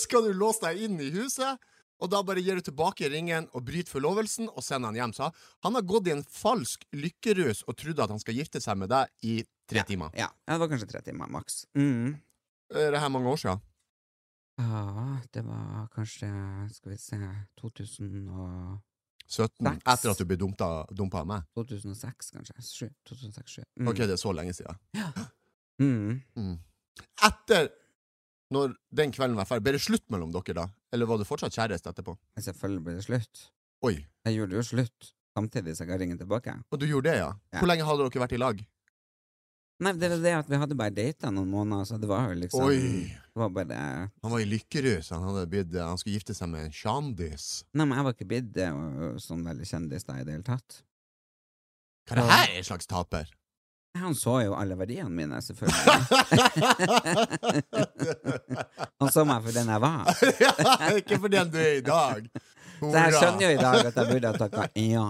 S4: skal du låse deg inn i huset, og da bare gir du tilbake ringen og bryter forlovelsen og sender han hjem. Så han har gått i en falsk lykkerus og trodde at han skal gifte seg med deg i tre timer.
S3: Ja, ja, det var kanskje tre timer maks. Mm.
S4: Er det her mange år siden?
S3: Ja, det var kanskje, skal vi se, 2000 og
S4: 17,
S3: Seks.
S4: etter at du ble dumpa, dumpa av meg?
S3: 2006, kanskje. 7, 2006, 7. Mm.
S4: Ok, det er så lenge siden.
S3: Mm.
S4: Etter når den kvelden var ferdig, ble det slutt mellom dere da? Eller var du fortsatt kjæreste etterpå?
S3: Men Selvfølgelig ble det slutt.
S4: Oi,
S3: Jeg gjorde jo slutt samtidig som jeg ga ringen tilbake.
S4: og du gjorde det, ja?
S3: Ja.
S4: Hvor lenge hadde dere vært i lag?
S3: Nei, det var det at vi hadde bare data noen måneder, så det var jo liksom
S4: Oi.
S3: Det var bare
S4: Han var i lykkerus. Han, hadde blitt, eh, han skulle gifte seg med en kjandis.
S3: Nei, men jeg var ikke blitt eh, sånn veldig kjendis da i det hele tatt.
S4: Hva er det her en slags taper?
S3: Han så jo alle verdiene mine, selvfølgelig. Han så meg for den jeg var.
S4: Ikke for den du er i dag.
S3: Så jeg skjønner jo i dag at jeg burde ha takka ja.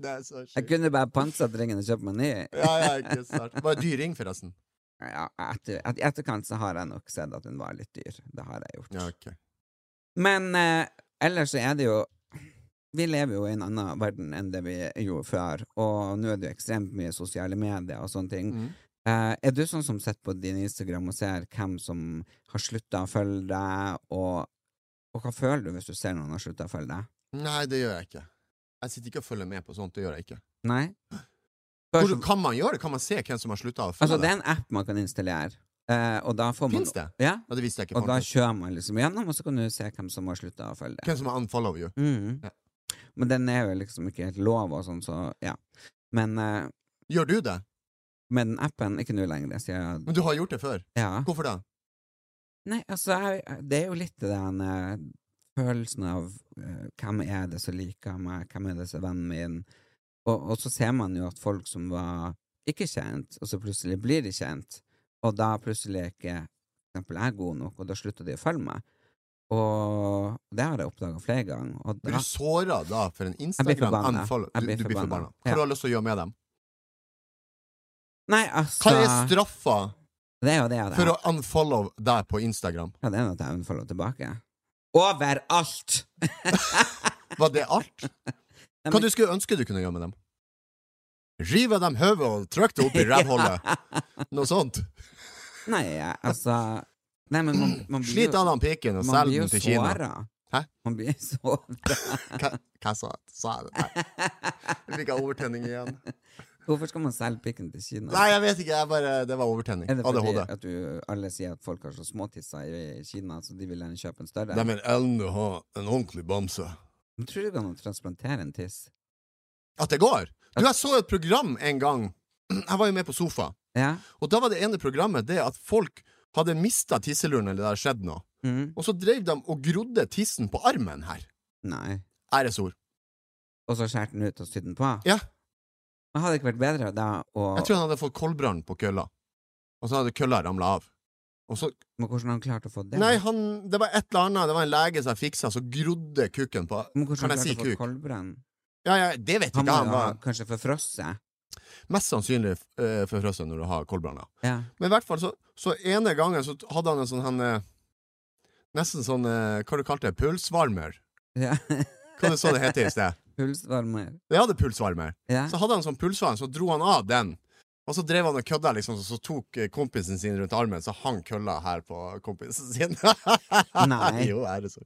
S4: Det er så
S3: Jeg
S4: sjukt.
S3: kunne bare pantsatt ringen og kjøpt meg ny.
S4: Ja, ja, ikke sant. Var det dyr ring, forresten?
S3: Ja, etter, et- I etterkant så har jeg nok sett at hun var litt dyr. Det har jeg gjort.
S4: Ja, ok.
S3: Men eh, ellers så er det jo Vi lever jo i en annen verden enn det vi gjorde før, og nå er det jo ekstremt mye sosiale medier og sånne ting.
S4: Mm.
S3: Eh, er du sånn som sitter på din Instagram og ser hvem som har slutta å følge deg, og, og hva føler du hvis du ser noen har slutta å følge deg?
S4: Nei, det gjør jeg ikke. Jeg sitter ikke og følger med på sånt. Det gjør jeg ikke.
S3: Nei?
S4: Hvor,
S3: Spørs-
S4: kan man gjøre det? Kan man se hvem som har slutta å følge
S3: altså, det
S4: deg?
S3: er en app man kan installere, eh, og da får man
S4: Fins det?
S3: Ja,
S4: Ja, det visste jeg ikke.
S3: og da
S4: faktisk.
S3: kjører man liksom gjennom, og så kan du se hvem som har slutta å følge deg.
S4: Hvem som har unfollow you?
S3: Mm.
S4: Ja.
S3: Men den er jo liksom ikke helt lov og sånn, så ja. Men eh,
S4: Gjør du det?
S3: med den appen Ikke nå lenger, det sier jeg.
S4: Men du har gjort det før.
S3: Ja.
S4: Hvorfor da?
S3: Nei, altså, jeg, det er jo litt den eh, følelsen av eh, hvem er det som liker meg, hvem er det som er vennen min, og, og så ser man jo at folk som var ikke kjent, og så plutselig blir de kjent, og da plutselig er ikke for eksempel jeg god nok, og da slutter de å følge meg. Og det har jeg oppdaga flere ganger. Og
S4: Blir
S3: da,
S4: du såra da for en
S3: Jeg blir
S4: Instagram
S3: forbanna.
S4: unfollow?
S3: Jeg
S4: Du,
S3: blir
S4: du blir
S3: forbanna.
S4: forbanna.
S3: Ja.
S4: Hva har du lyst til å gjøre med dem?
S3: nei, altså
S4: Hva er straffa
S3: Det er jo det at jeg
S4: for å unfollow deg på Instagram?
S3: Ja, det er noe at jeg unfollow tilbake. Overalt!
S4: Var det alt? Hva
S3: men-
S4: du skulle ønske du kunne gjøre med dem? Rive dem hodet og trykke det opp i rævhullet? Noe sånt?
S3: Nei, jeg- altså Nei, men man, man blir
S4: Slit
S3: jo-
S4: av den pikken og
S3: man
S4: selg
S3: blir jo
S4: den til Kina.
S3: såret.
S4: Hæ?
S3: Man blir såra.
S4: Hva, hva sa jeg? Sa jeg det? Nei. Jeg fikk overtenning igjen.
S3: Hvorfor skal man selge pikken til Kina?
S4: Nei, jeg vet ikke. Jeg bare, det var overtenning.
S3: Er det fordi
S4: ADHD.
S3: at du, alle sier at folk har så små tisser i Kina, så de vil gjerne kjøpe en større?
S4: Neimen, Ellen du har en ordentlig bamse.
S3: Men Tror du ikke han transplanterer en tiss?
S4: At det går! Du, jeg så et program en gang. Jeg var jo med på sofa.
S3: Ja.
S4: Og da var det ene programmet det at folk hadde mista tisseluren, eller det hadde skjedd noe.
S3: Mm.
S4: Og så drev de og grodde tissen på armen her.
S3: Nei.
S4: Æresord.
S3: Og så skjærer den ut og sydd den på?
S4: Ja.
S3: Men hadde det ikke vært bedre da å
S4: Jeg tror han hadde fått koldbrann på kølla. Og så hadde kølla ramla av. Og så
S3: Men hvordan har han klart å få det?
S4: Nei, han, det var et eller annet. Det var en lege som fiksa, så grodde kukken på
S3: Men hvordan
S4: Kan
S3: har han
S4: jeg si
S3: klart å få
S4: kuk?
S3: koldbrann?
S4: Ja, ja, det vet
S3: Han
S4: ikke
S3: må
S4: han.
S3: jo ha
S4: Var
S3: kanskje forfrosset.
S4: mest sannsynlig uh, forfrosset når du har koldbrann. ja.
S3: Ja.
S4: Men i hvert fall, så, så ene gangen så hadde han en sånn han, eh, Nesten sånn eh, Hva du kalte det? Pulsvarmer?
S3: ja.
S4: Hva det så det het i sted?
S3: Pulsvarmer.
S4: Det hadde pulsvarmer.
S3: Ja.
S4: Så hadde han sånn pulsvarm, så dro han av den. Og så drev han og kødda, liksom, så, så tok eh, kompisen sin rundt armen, så hang kølla her på kompisen sin.
S3: Nei.
S4: jo, er det så.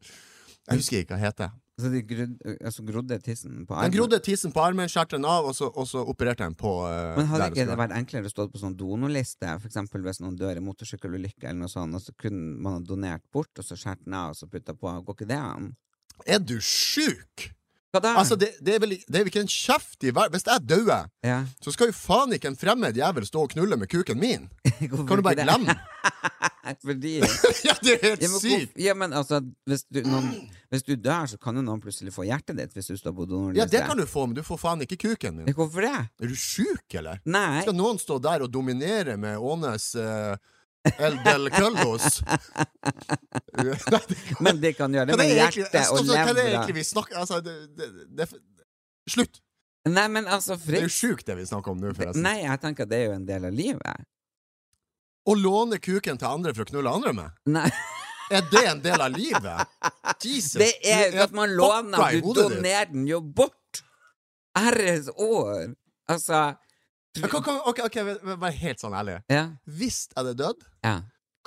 S4: Jeg husker ikke hva det heter.
S3: Så de grod, altså grodde tissen på
S4: Han
S3: armen?
S4: grodde tissen på armen, skjærte den av, og så, og så opererte han på eh,
S3: Men hadde ikke
S4: der det
S3: det
S4: skulle være.
S3: vært enklere å stå på sånn donorliste, for eksempel hvis noen dør i motorsykkelulykke eller noe sånt, og så kunne man ha donert bort, og så skjært den av, og så putta på, går ikke det an?
S4: Er du sjuk?!
S3: Hva da?
S4: Altså, det, det, er vel, det er vel ikke en kjeft i verden Hvis jeg dauer,
S3: ja.
S4: så skal jo faen ikke en fremmed jævel stå og knulle med kuken min! Kan du bare glemme den?
S3: Fordi
S4: ja, det er helt
S3: ja, men,
S4: sykt!
S3: hvorf- ja, men altså, hvis du, noen, hvis du dør, så kan jo noen plutselig få hjertet ditt hvis du står på donorliste.
S4: Ja, det kan du få, men du får faen ikke kuken min.
S3: Hvorfor det?
S4: Er du sjuk, eller?
S3: Nei.
S4: Skal noen stå der og dominere med Ånes eh, El Del Cøllos? Nei, det kan-
S3: Men det kan gjøre
S4: Hva
S3: det med
S4: er egentlig-
S3: hjertet
S4: altså,
S3: og
S4: Hva er det egentlig
S3: levra.
S4: vi snakker Altså, det, det, det, Slutt!
S3: Nei, men altså,
S4: Det er jo
S3: Fritz
S4: sjukt, altså. det vi snakker om nå, forresten.
S3: Nei, jeg tenker at det er jo en del av livet.
S4: Å låne kuken til andre for å knulle andre med?
S3: Nei.
S4: Er det en del av livet? Jesus!
S3: Det er jo
S4: du
S3: ikke at man låner,
S4: fucka i
S3: du
S4: hodet ditt.
S3: donerer den jo bort! Herres år! Altså
S4: Ja, kom- kom- Ok, ok, vær helt sånn ærlig.
S3: Ja.
S4: Hvis jeg hadde dødd,
S3: ja.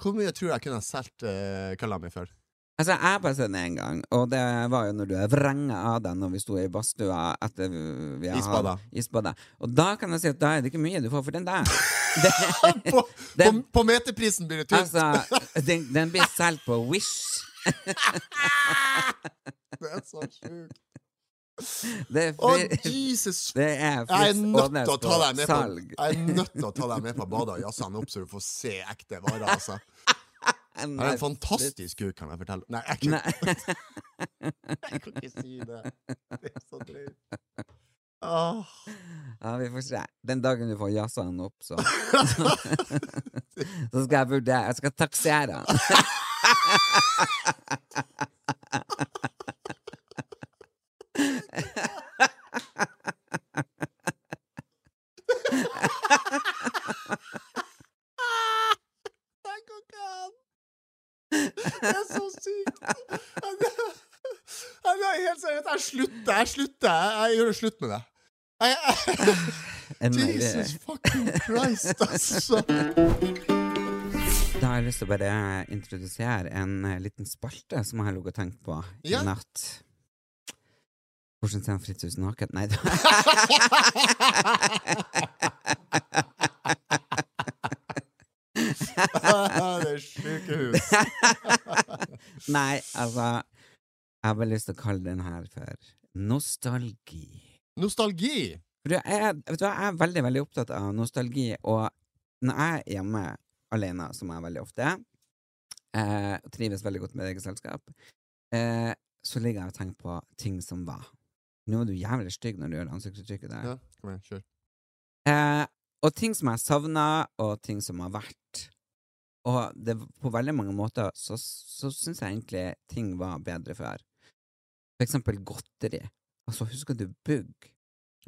S4: hvor mye tror du jeg kunne ha solgt uh, kølla mi for?
S3: Altså, jeg har bare sett den én gang, og det var jo når du vrenga av deg når vi sto i badstua etter vi har
S4: Isbada.
S3: isbada. Og da kan jeg si at da er det ikke mye du får for den der. Det,
S4: På, på,
S3: Den-
S4: på meterprisen blir det tynt!
S3: altså, den, den blir solgt på Wish.
S4: Det er så sjukt.
S3: Det er,
S4: Å,
S3: fri,
S4: Jesus!
S3: det er
S4: Jeg er
S3: Fritz
S4: nødt
S3: Aanes
S4: til å ta
S3: på
S4: deg med på
S3: salg.
S4: Jeg er nødt til å ta deg med på badet og jazze han opp, så du får se ekte varer. Altså. Jeg har en fantastisk kuk, kan jeg fortelle. Nei, jeg kan,
S3: Nei.
S4: jeg kan ikke si det. Det er så drøyt. Åh.
S3: Ja, vi får se. Den dagen du får jazza han opp, så Så skal jeg vurdere. Jeg skal taksere han.
S4: Det går ikke an! Det er så sykt! Jeg er helt seriøst. Jeg slutter. Jeg slutter. Jeg gjør det slutt med det. Jeg, jeg,
S3: Enn meg.
S4: Jesus fucking Christ, altså!
S3: Da har jeg lyst til å bare introdusere en eh, liten spalte som jeg har ligget og tenkt på i
S4: Ja.
S3: natt. Hvordan ser han Fritz ut naken? Nei da.
S4: Det er sjukehus.
S3: Nei, altså Jeg har bare lyst til å kalle den her for nostalgi.
S4: Nostalgi.
S3: For jeg, er- vet du hva, jeg er veldig, veldig opptatt av nostalgi, og når jeg er hjemme alene, som jeg er veldig ofte, er, eh, og trives veldig godt med eget selskap, eh, så ligger jeg og tenker på ting som var. Nå er du jævlig stygg når du gjør det ansiktsuttrykket der.
S4: Ja, kom igjen, kjør.
S3: Eh, og ting som jeg savna, og ting som har vært. Og det, på veldig mange måter så, så syns jeg egentlig ting var bedre før. For eksempel godteri. Altså, husker du Bugg?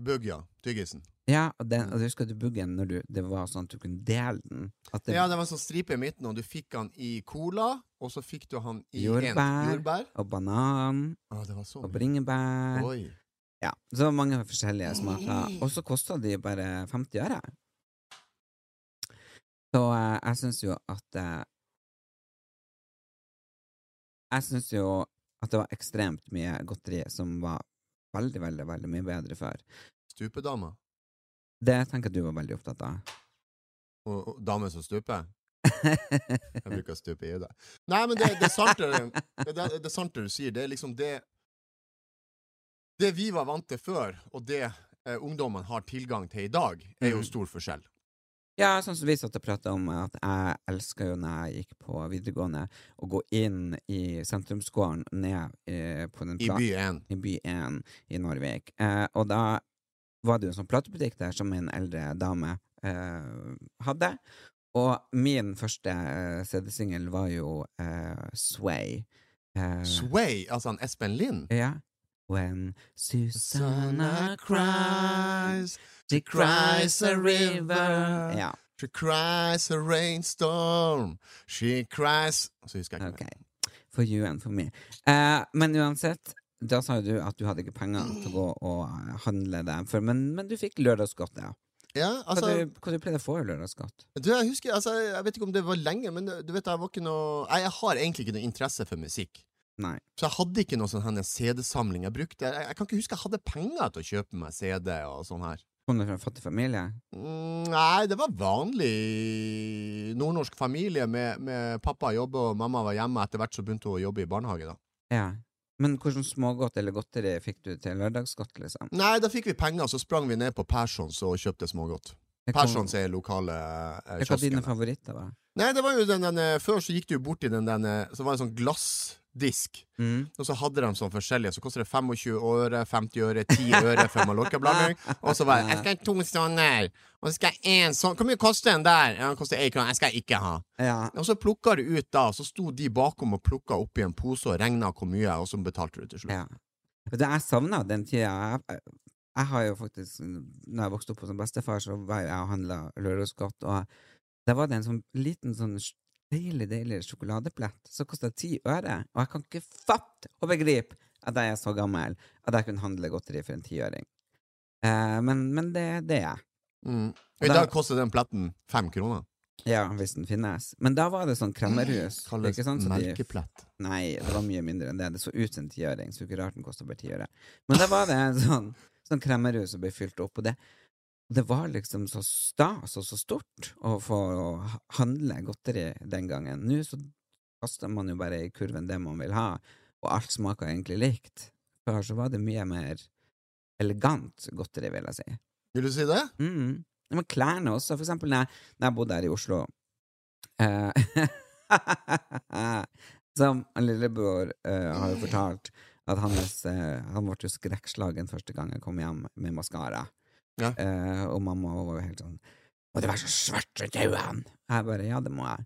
S4: Bugg, ja. Tyggisen.
S3: Ja, og,
S4: Mm.
S3: den, og du husker du buggen når du, det var sånn at du kunne dele den? At det,
S4: Ja, det var en sånn stripe i midten, og du fikk han i cola, og så fikk du han i en-
S3: Jordbær.
S4: jordbær.
S3: Og banan,
S4: Å, det var så
S3: og
S4: mye.
S3: bringebær
S4: Oi.
S3: Ja, så mange forskjellige smaker. Og så kosta de bare 50 øre. Så eh, jeg syns jo at eh, jeg syns jo at det var ekstremt mye godteri som var veldig, veldig, veldig mye bedre før.
S4: Stupedama.
S3: Det tenker jeg du var veldig opptatt av.
S4: Og, og dame som stuper. Jeg bruker å stupe i hodet. Nei, men det, det er sant det, det, er- det er sant det du sier. Det er liksom det Det vi var vant til før, og det eh, ungdommen har tilgang til i dag, er jo
S3: Mhm.
S4: stor forskjell.
S3: Ja, sånn som vi satt og prata om, at jeg elska jo når jeg gikk på videregående, å gå inn i sentrumsgården ned eh, på den
S4: I
S3: pla-
S4: by 1.
S3: i by 1 i Norvik. Eh, og da var det jo en sånn platebutikk der som en eldre dame eh, hadde. Og min første eh, CD-singel var jo eh, Sway. Eh,
S4: Sway, altså han Espen Lind.
S3: ja. When Susanna cries,
S4: she cries a river.
S3: Ja,
S4: She cries a rainstorm. She cries Så husker jeg ikke
S3: ok. For you and for me. Eh, men uansett, da sa jo du at du hadde ikke penger til å gå og eh, handle deg for, men, men du fikk lørdagsgodt, ja.
S4: mer. Ja,
S3: Hva,
S4: altså,
S3: du, hva du pleide å få i lørdagsgodt?
S4: du, jeg husker, altså, jeg vet ikke om det var lenge, men eh, du vet, jeg var ikke noe Jeg, jeg har egentlig ikke noe interesse for musikk.
S3: Nei.
S4: Så jeg hadde ikke noe sånn her CD-samling jeg brukte. Jeg, jeg kan ikke huske jeg hadde penger til å kjøpe meg CD og sånn her.
S3: Kom du fra en fattig familie?
S4: Mm, nei, det var vanlig nordnorsk familie med, med pappa jobbe og mamma var hjemme. Etter hvert så begynte hun å jobbe i barnehage, da.
S3: Ja. Men hvordan smågodt eller godteri fikk du til lørdagsgodt, liksom?
S4: Nei, da fikk vi penger, så sprang vi ned på Persons og kjøpte smågodt. Persons er lokale eh,
S3: Hva dine
S4: kiosken. da.
S3: favoritter var?
S4: Nei, det var jo den, den eh, Før så gikk du jo bort i den, den eh, Så var det en sånn glassdisk.
S3: Mm.
S4: Og så hadde de sånn forskjellige. Så koster det 25 øre, 50 øre, 10 øre for mallorcablanding. Og så var det 'Jeg skal ha to sånne', og så skal jeg én sånn. Hvor mye koster den der? Ja, den koster én krone. Jeg skal ikke ha.
S3: Ja.
S4: Og så plukka du ut da, og så sto de bakom og plukka oppi en pose og regna hvor mye, og så betalte du til slutt.
S3: ja. Vet du, jeg savna den tida. Jeg, jeg har jo faktisk Når jeg vokste opp hos en bestefar, så var jeg og handla lørdagsgodt, og da var det en sånn liten sånn sj- deilig, deilig sjokoladeplett som kosta ti øre, og jeg kan ikke fatte og begripe at jeg er så gammel at jeg kunne handle godteri for en tiøring. Eh, men, men det, det er jeg.
S4: Mm. Og I dag koster den pletten fem kroner.
S3: Ja, hvis den finnes. Men da var det sånn kremmerhus.
S4: Kalles
S3: ikke sant? Så de-
S4: merkeplett.
S3: Nei, det var mye mindre enn det. Det så ut som en tiøring, så ikke rart den kosta bare tiøre. Men da var det en sånn, sånn kremmerhus som ble fylt opp, og det, det var liksom så stas og så stort å få å handle godteri den gangen. Nå så kaster man jo bare i kurven det man vil ha, og alt smaker egentlig likt. Før så var det mye mer elegant godteri, vil jeg si.
S4: Vil du si det?
S3: Mm. Men klærne også, for eksempel når jeg, når jeg bodde her i Oslo eh, Som en lillebror eh, har jo fortalt at hans, eh, han ble jo skrekkslagen første gang jeg kom hjem med maskara.
S4: Ja.
S3: Eh, og mamma hun var jo helt sånn Må det være så svart rundt øynene? Jeg bare ja, det må jeg.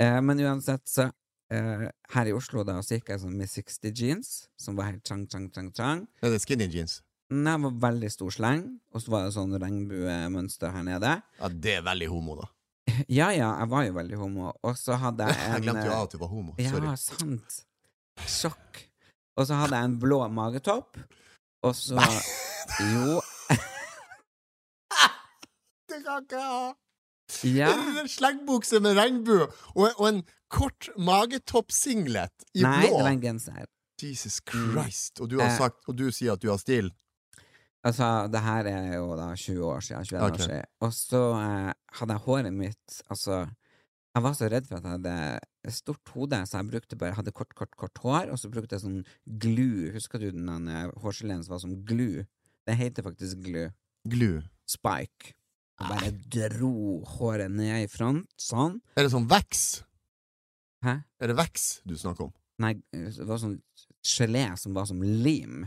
S3: Eh, men uansett, så eh, Her i Oslo da, så gikk jeg sånn med 60 jeans, som var helt trang, trang, trang, trang.
S4: Nei, det er skinny jeans.
S3: Nei, det var veldig stor sleng, og så var det sånn regnbuemønster her nede.
S4: Ja, det er veldig homo, da.
S3: Ja ja, jeg var jo veldig homo, og så hadde jeg en
S4: Jeg glemte jo av at du var homo.
S3: Eh, Ja,
S4: Sorry.
S3: sant. Sjokk. Og så hadde jeg en blå magetopp, og så Jo,
S4: Det kan ikke jeg ha!
S3: ja.
S4: Det er En slengbukse med regnbue og, og en kort magetoppsinglet i
S3: Nei, det
S4: blå.
S3: var en genser.
S4: Jesus Christ. Og du, har
S3: Eh.
S4: sagt, og du sier at du har stil.
S3: Altså, det her er jo da 20 år siden, 21
S4: Ok.
S3: år siden. Og så eh, hadde jeg håret mitt Altså, jeg var så redd for at jeg hadde et stort hode, så jeg brukte bare hadde kort, kort, kort hår, og så brukte jeg sånn glu. Husker du den eh, hårgeleen som var som glu? Det heter faktisk glu.
S4: Glu.
S3: Spike. Og bare dro håret ned i front, sånn.
S4: Er det sånn veks?
S3: Hæ?
S4: Er det veks du snakker om?
S3: Nei, det var sånn gelé som var som lim.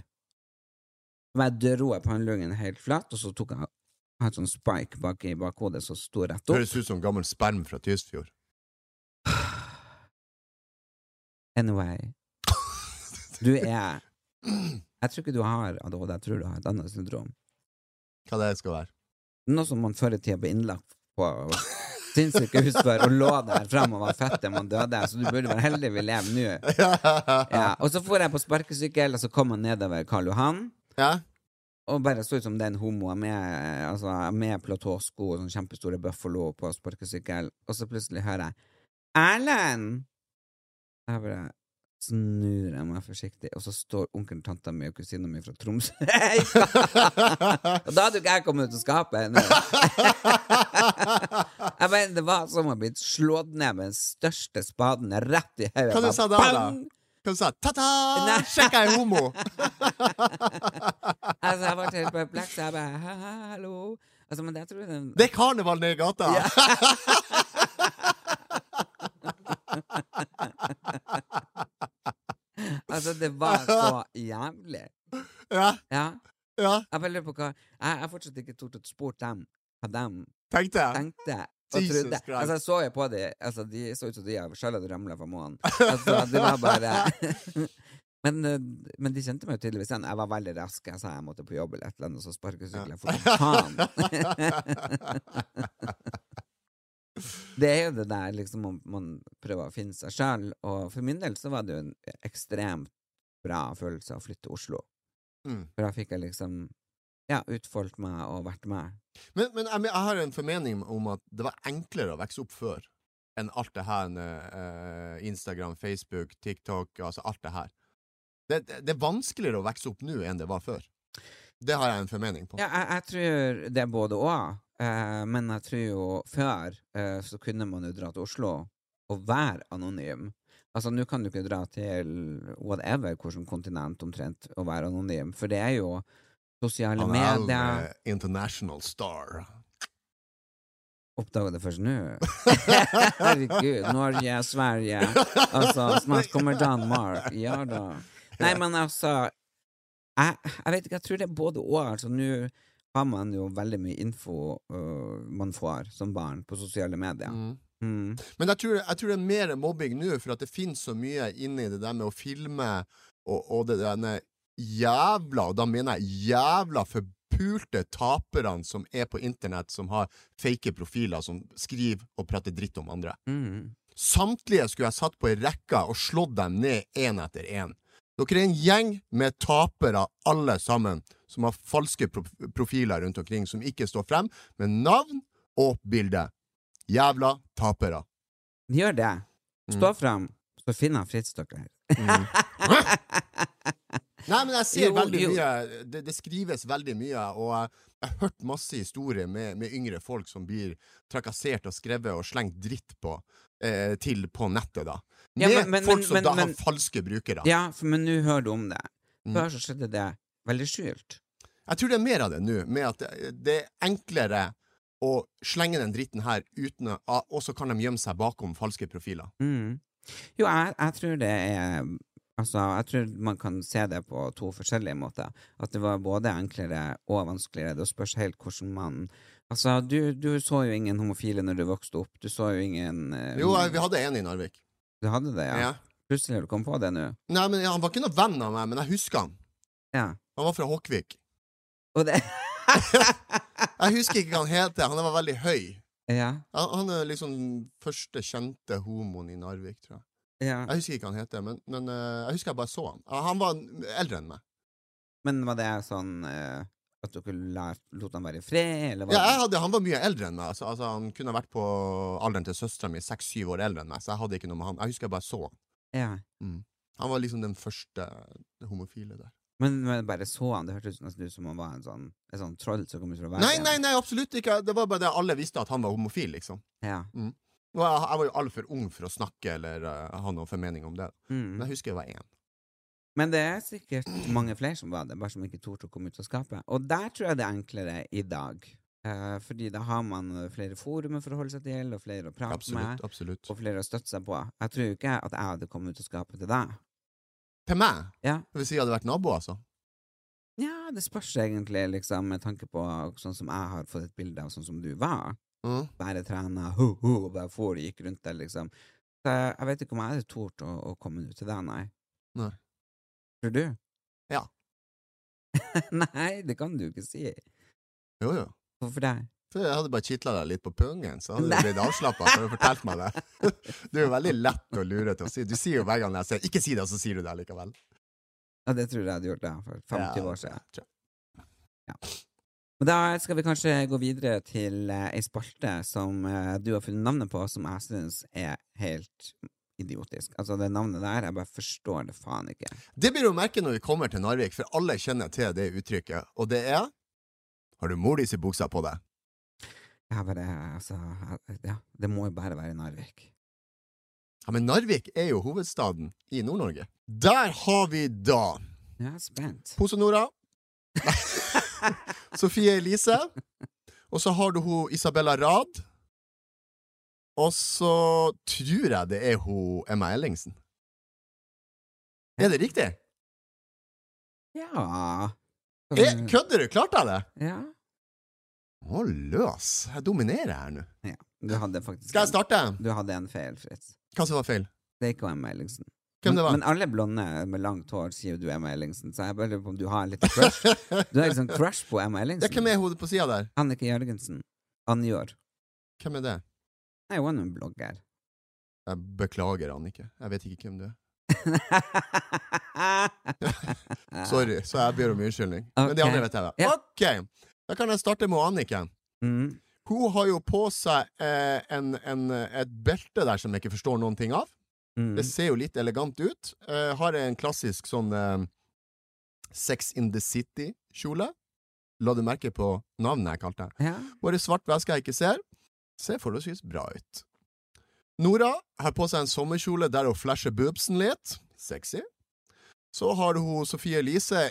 S3: Så bare dro jeg pannelungen helt flatt, og så tok jeg jeg hadde sånn spike bak i bakhodet som sto rett opp.
S4: Høres ut som gammel sperm fra Tysfjord.
S3: Anyway, du er Jeg tror ikke du har ADHD, jeg tror du har et annet syndrom.
S4: Hva det skal være?
S3: Noe som man før i tida ble innlagt på sinnssykehus for, og lå der fram og var fett til man døde, så du burde være heldig vi lever nå.
S4: ja.
S3: Ja, og så for jeg på sparkesykkel, og så kom jeg nedover Karl Johan.
S4: ja.
S3: Og bare så ut som den homoen med, altså, med platåsko og sånne kjempestore buffalo på sparkesykkel. Og så plutselig hører jeg 'Erlend!' Jeg bare snur jeg meg forsiktig, og så står onkelen, tanta mi og kusina mi fra Tromsø Og da hadde jo ikke jeg kommet ut av skapet ennå. jeg mener, det var som å ha blitt slått ned med den største spaden rett i hodet.
S4: Hva du sa da, da? Hva du sa Ta-ta!
S3: Nei.
S4: Sjekk, jeg er homo!
S3: Altså, jeg ble helt perpleks. Jeg bare «Hæ, hæ, hallo. Altså, men jeg tror den
S4: Det er karneval nede i gata!
S3: Altså, det var så jævlig.
S4: Ja,
S3: Ja.
S4: ja.
S3: Jeg bare lurer på hva Jeg har fortsatt ikke tort å spørre dem hva de
S4: Tenkte jeg.
S3: tenkte og
S4: Jesus
S3: trodde.
S4: Christ.
S3: Altså, jeg så jo på dem. Altså, de så ut som de har skjellet ramla fra månen. Altså, det var bare men, eh, men de kjente meg jo tydeligvis igjen. Jeg var veldig rask. Jeg sa jeg måtte på jobb eller et eller annet, og så sparkesykla jeg for faen. Det er jo det der liksom om man prøver å finne seg sjøl, og for min del så var det jo en ekstremt bra følelse å flytte til Oslo.
S4: Mm.
S3: For da fikk jeg liksom ja, utfoldt meg og vært meg.
S4: Men, men jeg, men jeg har en formening om at det var enklere å vokse opp før enn alt det her eh, Instagram, Facebook, TikTok, altså alt det her. Det, det, det er vanskeligere å vokse opp nå enn det var før. Det har jeg en formening på.
S3: Ja, jeg, jeg tror det er både og, eh, men jeg tror jo før eh, så kunne man jo dra til Oslo og være anonym. Altså, nå kan du ikke dra til whatever, hvilket kontinent omtrent, og være anonym, for det er jo sosiale
S4: Han er
S3: medier
S4: en, eh, international star.
S3: Oppdaga det først nå. Herregud, Norge, Sverige Altså, snart kommer Danmark. Ja da. Nei, men altså Jeg, jeg vet ikke, jeg tror det er både og. Altså, nå har man jo veldig mye info øh, man får som barn på sosiale medier.
S4: Mm.
S3: Mm.
S4: Men jeg tror, jeg tror det er mer mobbing nå, for at det finnes så mye inni det der med å filme og, og det denne jævla, og da mener jeg jævla forpulte taperne som er på internett, som har fake profiler, som skriver og prater dritt om andre.
S3: Mm.
S4: Samtlige skulle jeg satt på ei rekke og slått dem ned én etter én. Dere er en gjeng med tapere, alle sammen, som har falske pro profiler rundt omkring, som ikke står frem, med navn og bilde. Jævla tapere.
S3: Gjør det. Stå fram, så finner jeg Fritz dere.
S4: Nei, men jeg ser
S3: Jo,
S4: veldig
S3: jo.
S4: mye det, det skrives veldig mye, og jeg, jeg har hørt masse historier med, med yngre folk som blir trakassert og skrevet og slengt dritt på eh, til på nettet, da.
S3: Ja,
S4: Med
S3: men- men-
S4: folk
S3: men-
S4: som
S3: men-
S4: da
S3: men-
S4: har falske brukere.
S3: Ja, for, men nå hører du om det.
S4: Mm.
S3: Før så skjedde det veldig skjult.
S4: Jeg tror det er mer av det nå, med at det- det er enklere å slenge den dritten her uten å ah, Og så kan de gjemme seg bakom falske profiler.
S3: Mm. Jo, jeg, jeg tror det er Altså, jeg tror man kan se det på to forskjellige måter. At det var både enklere og vanskeligere. Det spørs helt hvordan man Altså, du, du så jo ingen homofile når du vokste opp. Du så jo ingen eh,
S4: Jo, eh, vi hadde en i Narvik.
S3: Du hadde det, ja?
S4: Ja.
S3: Plutselig har du kommet på det nå?
S4: Nei, men ja, Han var ikke noen venn av meg, men jeg husker han.
S3: Ja.
S4: Han var fra Håkvik.
S3: Og det
S4: Jeg husker ikke hva han het, han var veldig høy.
S3: Ja.
S4: Han, han er liksom den første kjente homoen i Narvik, tror jeg.
S3: ja.
S4: Jeg husker ikke hva han heter, men, men eh, jeg husker jeg bare så han. Ja, Han var eldre enn meg.
S3: Men var det sånn eh, at dere lær- lot han være i fred, eller var
S4: Ja, jeg hadde, han var mye eldre enn meg. Altså, altså, han kunne vært på alderen til søstera mi, seks-syv år eldre enn meg, så jeg hadde ikke noe med han. Jeg husker jeg bare så han.
S3: ja.
S4: Han var liksom den første homofile der.
S3: Men, men bare så han, det hørtes nesten ut som han var en sånn, et sånn troll som kom ut fra verden.
S4: Nei, nei, nei, absolutt ikke! Det var bare det alle visste at han var homofil, liksom.
S3: Ja.
S4: Og jeg, jeg var jo altfor ung for å snakke eller eh, ha noen formening om det.
S3: Mm.
S4: Men jeg husker jeg var én.
S3: Men det er sikkert mange flere som var det, bare som ikke torde å komme ut av skapet. Og der tror jeg det er enklere i dag. Eh, fordi da har man eh, flere forumer for å holde seg til, og flere å prate
S4: Absolutt. absolutt.
S3: med, og flere å støtte seg på. Jeg tror jo ikke at jeg hadde kommet ut av skapet til deg.
S4: Til meg?
S3: Ja.
S4: Hvis jeg hadde vært nabo, altså?
S3: Ja, det spørs egentlig, liksom, med tanke på sånn som jeg har fått et bilde av sånn som du var.
S4: Mm.
S3: Bare trena, ho, ho, og bare for gikk rundt der, liksom. Så jeg vet ikke om jeg hadde tort å, å komme ut til deg, nei.
S4: Nei.
S3: Tror du?
S4: Ja.
S3: nei, det kan du ikke si.
S4: Jo, jo.
S3: Hvorfor det?
S4: For jeg hadde bare kitla deg litt på pungen, så hadde du blitt avslappa. for Du fortalte meg det. Du er jo veldig lett å lure til å si. Du sier jo hver gang jeg sier 'ikke si det', så sier du det likevel.
S3: Ja, det tror jeg jeg hadde gjort da, for 50
S4: Ja,
S3: år siden.
S4: tror jeg.
S3: Men da skal vi kanskje gå videre til eh, ei spalte som eh, du har funnet navnet på, som jeg syns er helt idiotisk. Altså, det navnet der, jeg bare forstår det faen ikke.
S4: Det blir å merke når vi kommer til Narvik, for alle kjenner til det uttrykket, og det er Har du mor di si buksa på deg?
S3: Jeg bare, altså, jeg- ja, det må jo bare være Narvik.
S4: Ja, men Narvik er jo hovedstaden i Nord-Norge. Der har vi da
S3: Jeg er spent.
S4: Pose Nora. Sofie Elise. Og så har du hun Isabella Rad. Og så tror jeg det er hun Emma Ellingsen. Er det riktig?
S3: Ja.
S4: Er, Eh, kødder du? Klarte jeg det?
S3: Ja.
S4: Å, løs. Jeg dominerer her nå.
S3: ja. Du hadde faktisk
S4: Skal jeg starte?
S3: Du hadde en feil, Fritz.
S4: Hva som var feil?
S3: Det er ikke Emma Ellingsen.
S4: Hvem det var?
S3: Men, men alle blonde med langt hår sier jo du Emma Ellingsen, så jeg bare lurer på om du har litt crush. Du har liksom crush på Emma
S4: Ja, hvem
S3: Ellingsen.
S4: er hodet på sida der?
S3: Annike Jørgensen. Anjor.
S4: Hvem er det?
S3: Nei, hun er jo en blogger.
S4: Jeg beklager, Annike. Jeg vet ikke hvem du er. Sorry, så jeg ber om unnskyldning. Men det
S3: Ah. Ok.
S4: andre vet jeg,
S3: Ja.
S4: da. Ok, da kan jeg starte med Annike.
S3: Mm.
S4: Hun har jo på seg eh, en, en, et belte der som jeg ikke forstår noen ting av.
S3: Mm.
S4: Det ser jo litt elegant ut. Eh, har en klassisk sånn eh, Sex in the City-kjole. La du merke på navnet jeg kalte den.
S3: Ja.
S4: Bare svart væske jeg ikke ser, ser forholdsvis bra ut. Nora har på seg en sommerkjole der hun flasher boobsen litt. Sexy. Så har hun Sofie Elise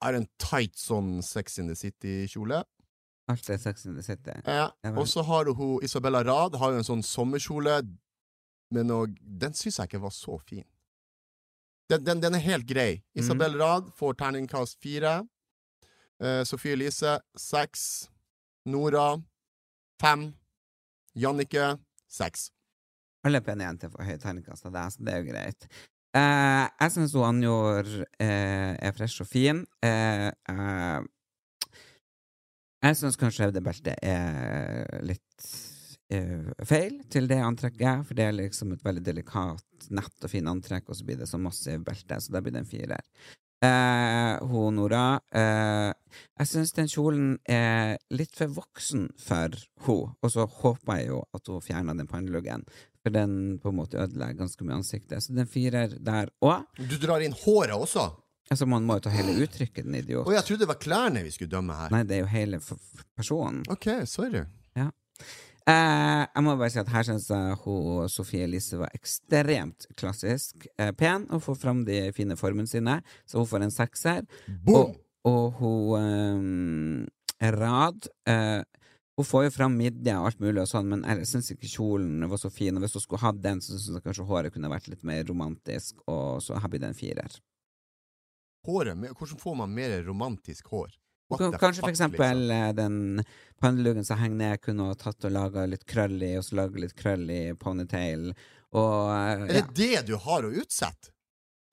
S4: har en tight sånn Sex in the City-kjole.
S3: Alt er Sex in the City.
S4: Eh,
S3: vel.
S4: og så har hun Isabella Rad har jo en sånn sommerkjole, men og, den syns jeg ikke var så fin. Den, den, den er helt grei.
S3: Mm.
S4: Isabel Rad får terningkast fire. Eh, Sofie Elise seks. Nora fem. Jannicke seks.
S3: Alle pene jenter får høy terningkast av deg, så det er jo greit. Eh, jeg syns Anjor eh, er fresh og fin. Eh, eh, jeg syns kanskje det beltet er litt eh, feil til det antrekket, for det er liksom et veldig delikat, nett og fin antrekk, og så blir det så massiv belte, så da blir det en firer. Eh, hun Nora eh, Jeg syns den kjolen er litt for voksen for hun og så håper jeg jo at hun fjerner den panneluggen, for den på en måte ødelegger ganske mye ansiktet. Så den firer der òg.
S4: Du drar inn håret også!
S3: Altså, man må jo ta hele uttrykket, den idiot.
S4: Og jeg trodde det var klærne vi skulle dømme her.
S3: Nei, det er jo hele f- f- personen.
S4: Ok, sorry.
S3: Ja. Eh, jeg må bare si at her syns jeg hun Sofie Elise var ekstremt klassisk eh, pen, og får fram de fine formene sine, så hun får en sekser.
S4: Boom!
S3: Og, og hun eh, Rad eh, Hun får jo fram midje og alt mulig, og sånn, men jeg syns ikke kjolen var så fin. Og hvis hun skulle hatt den, så syns jeg kanskje håret kunne vært litt mer romantisk, og så her blir det en firer.
S4: Håret, men hvordan får man mer romantisk hår? What
S3: Kan-
S4: the
S3: Kanskje
S4: fuck,
S3: for
S4: liksom?
S3: eksempel eh, den panneluggen som henger ned, kunne ha tatt og laga litt krøll i, og så laga litt krøll i ponytail, og eh,
S4: Er
S3: ja.
S4: det det du har å utsette?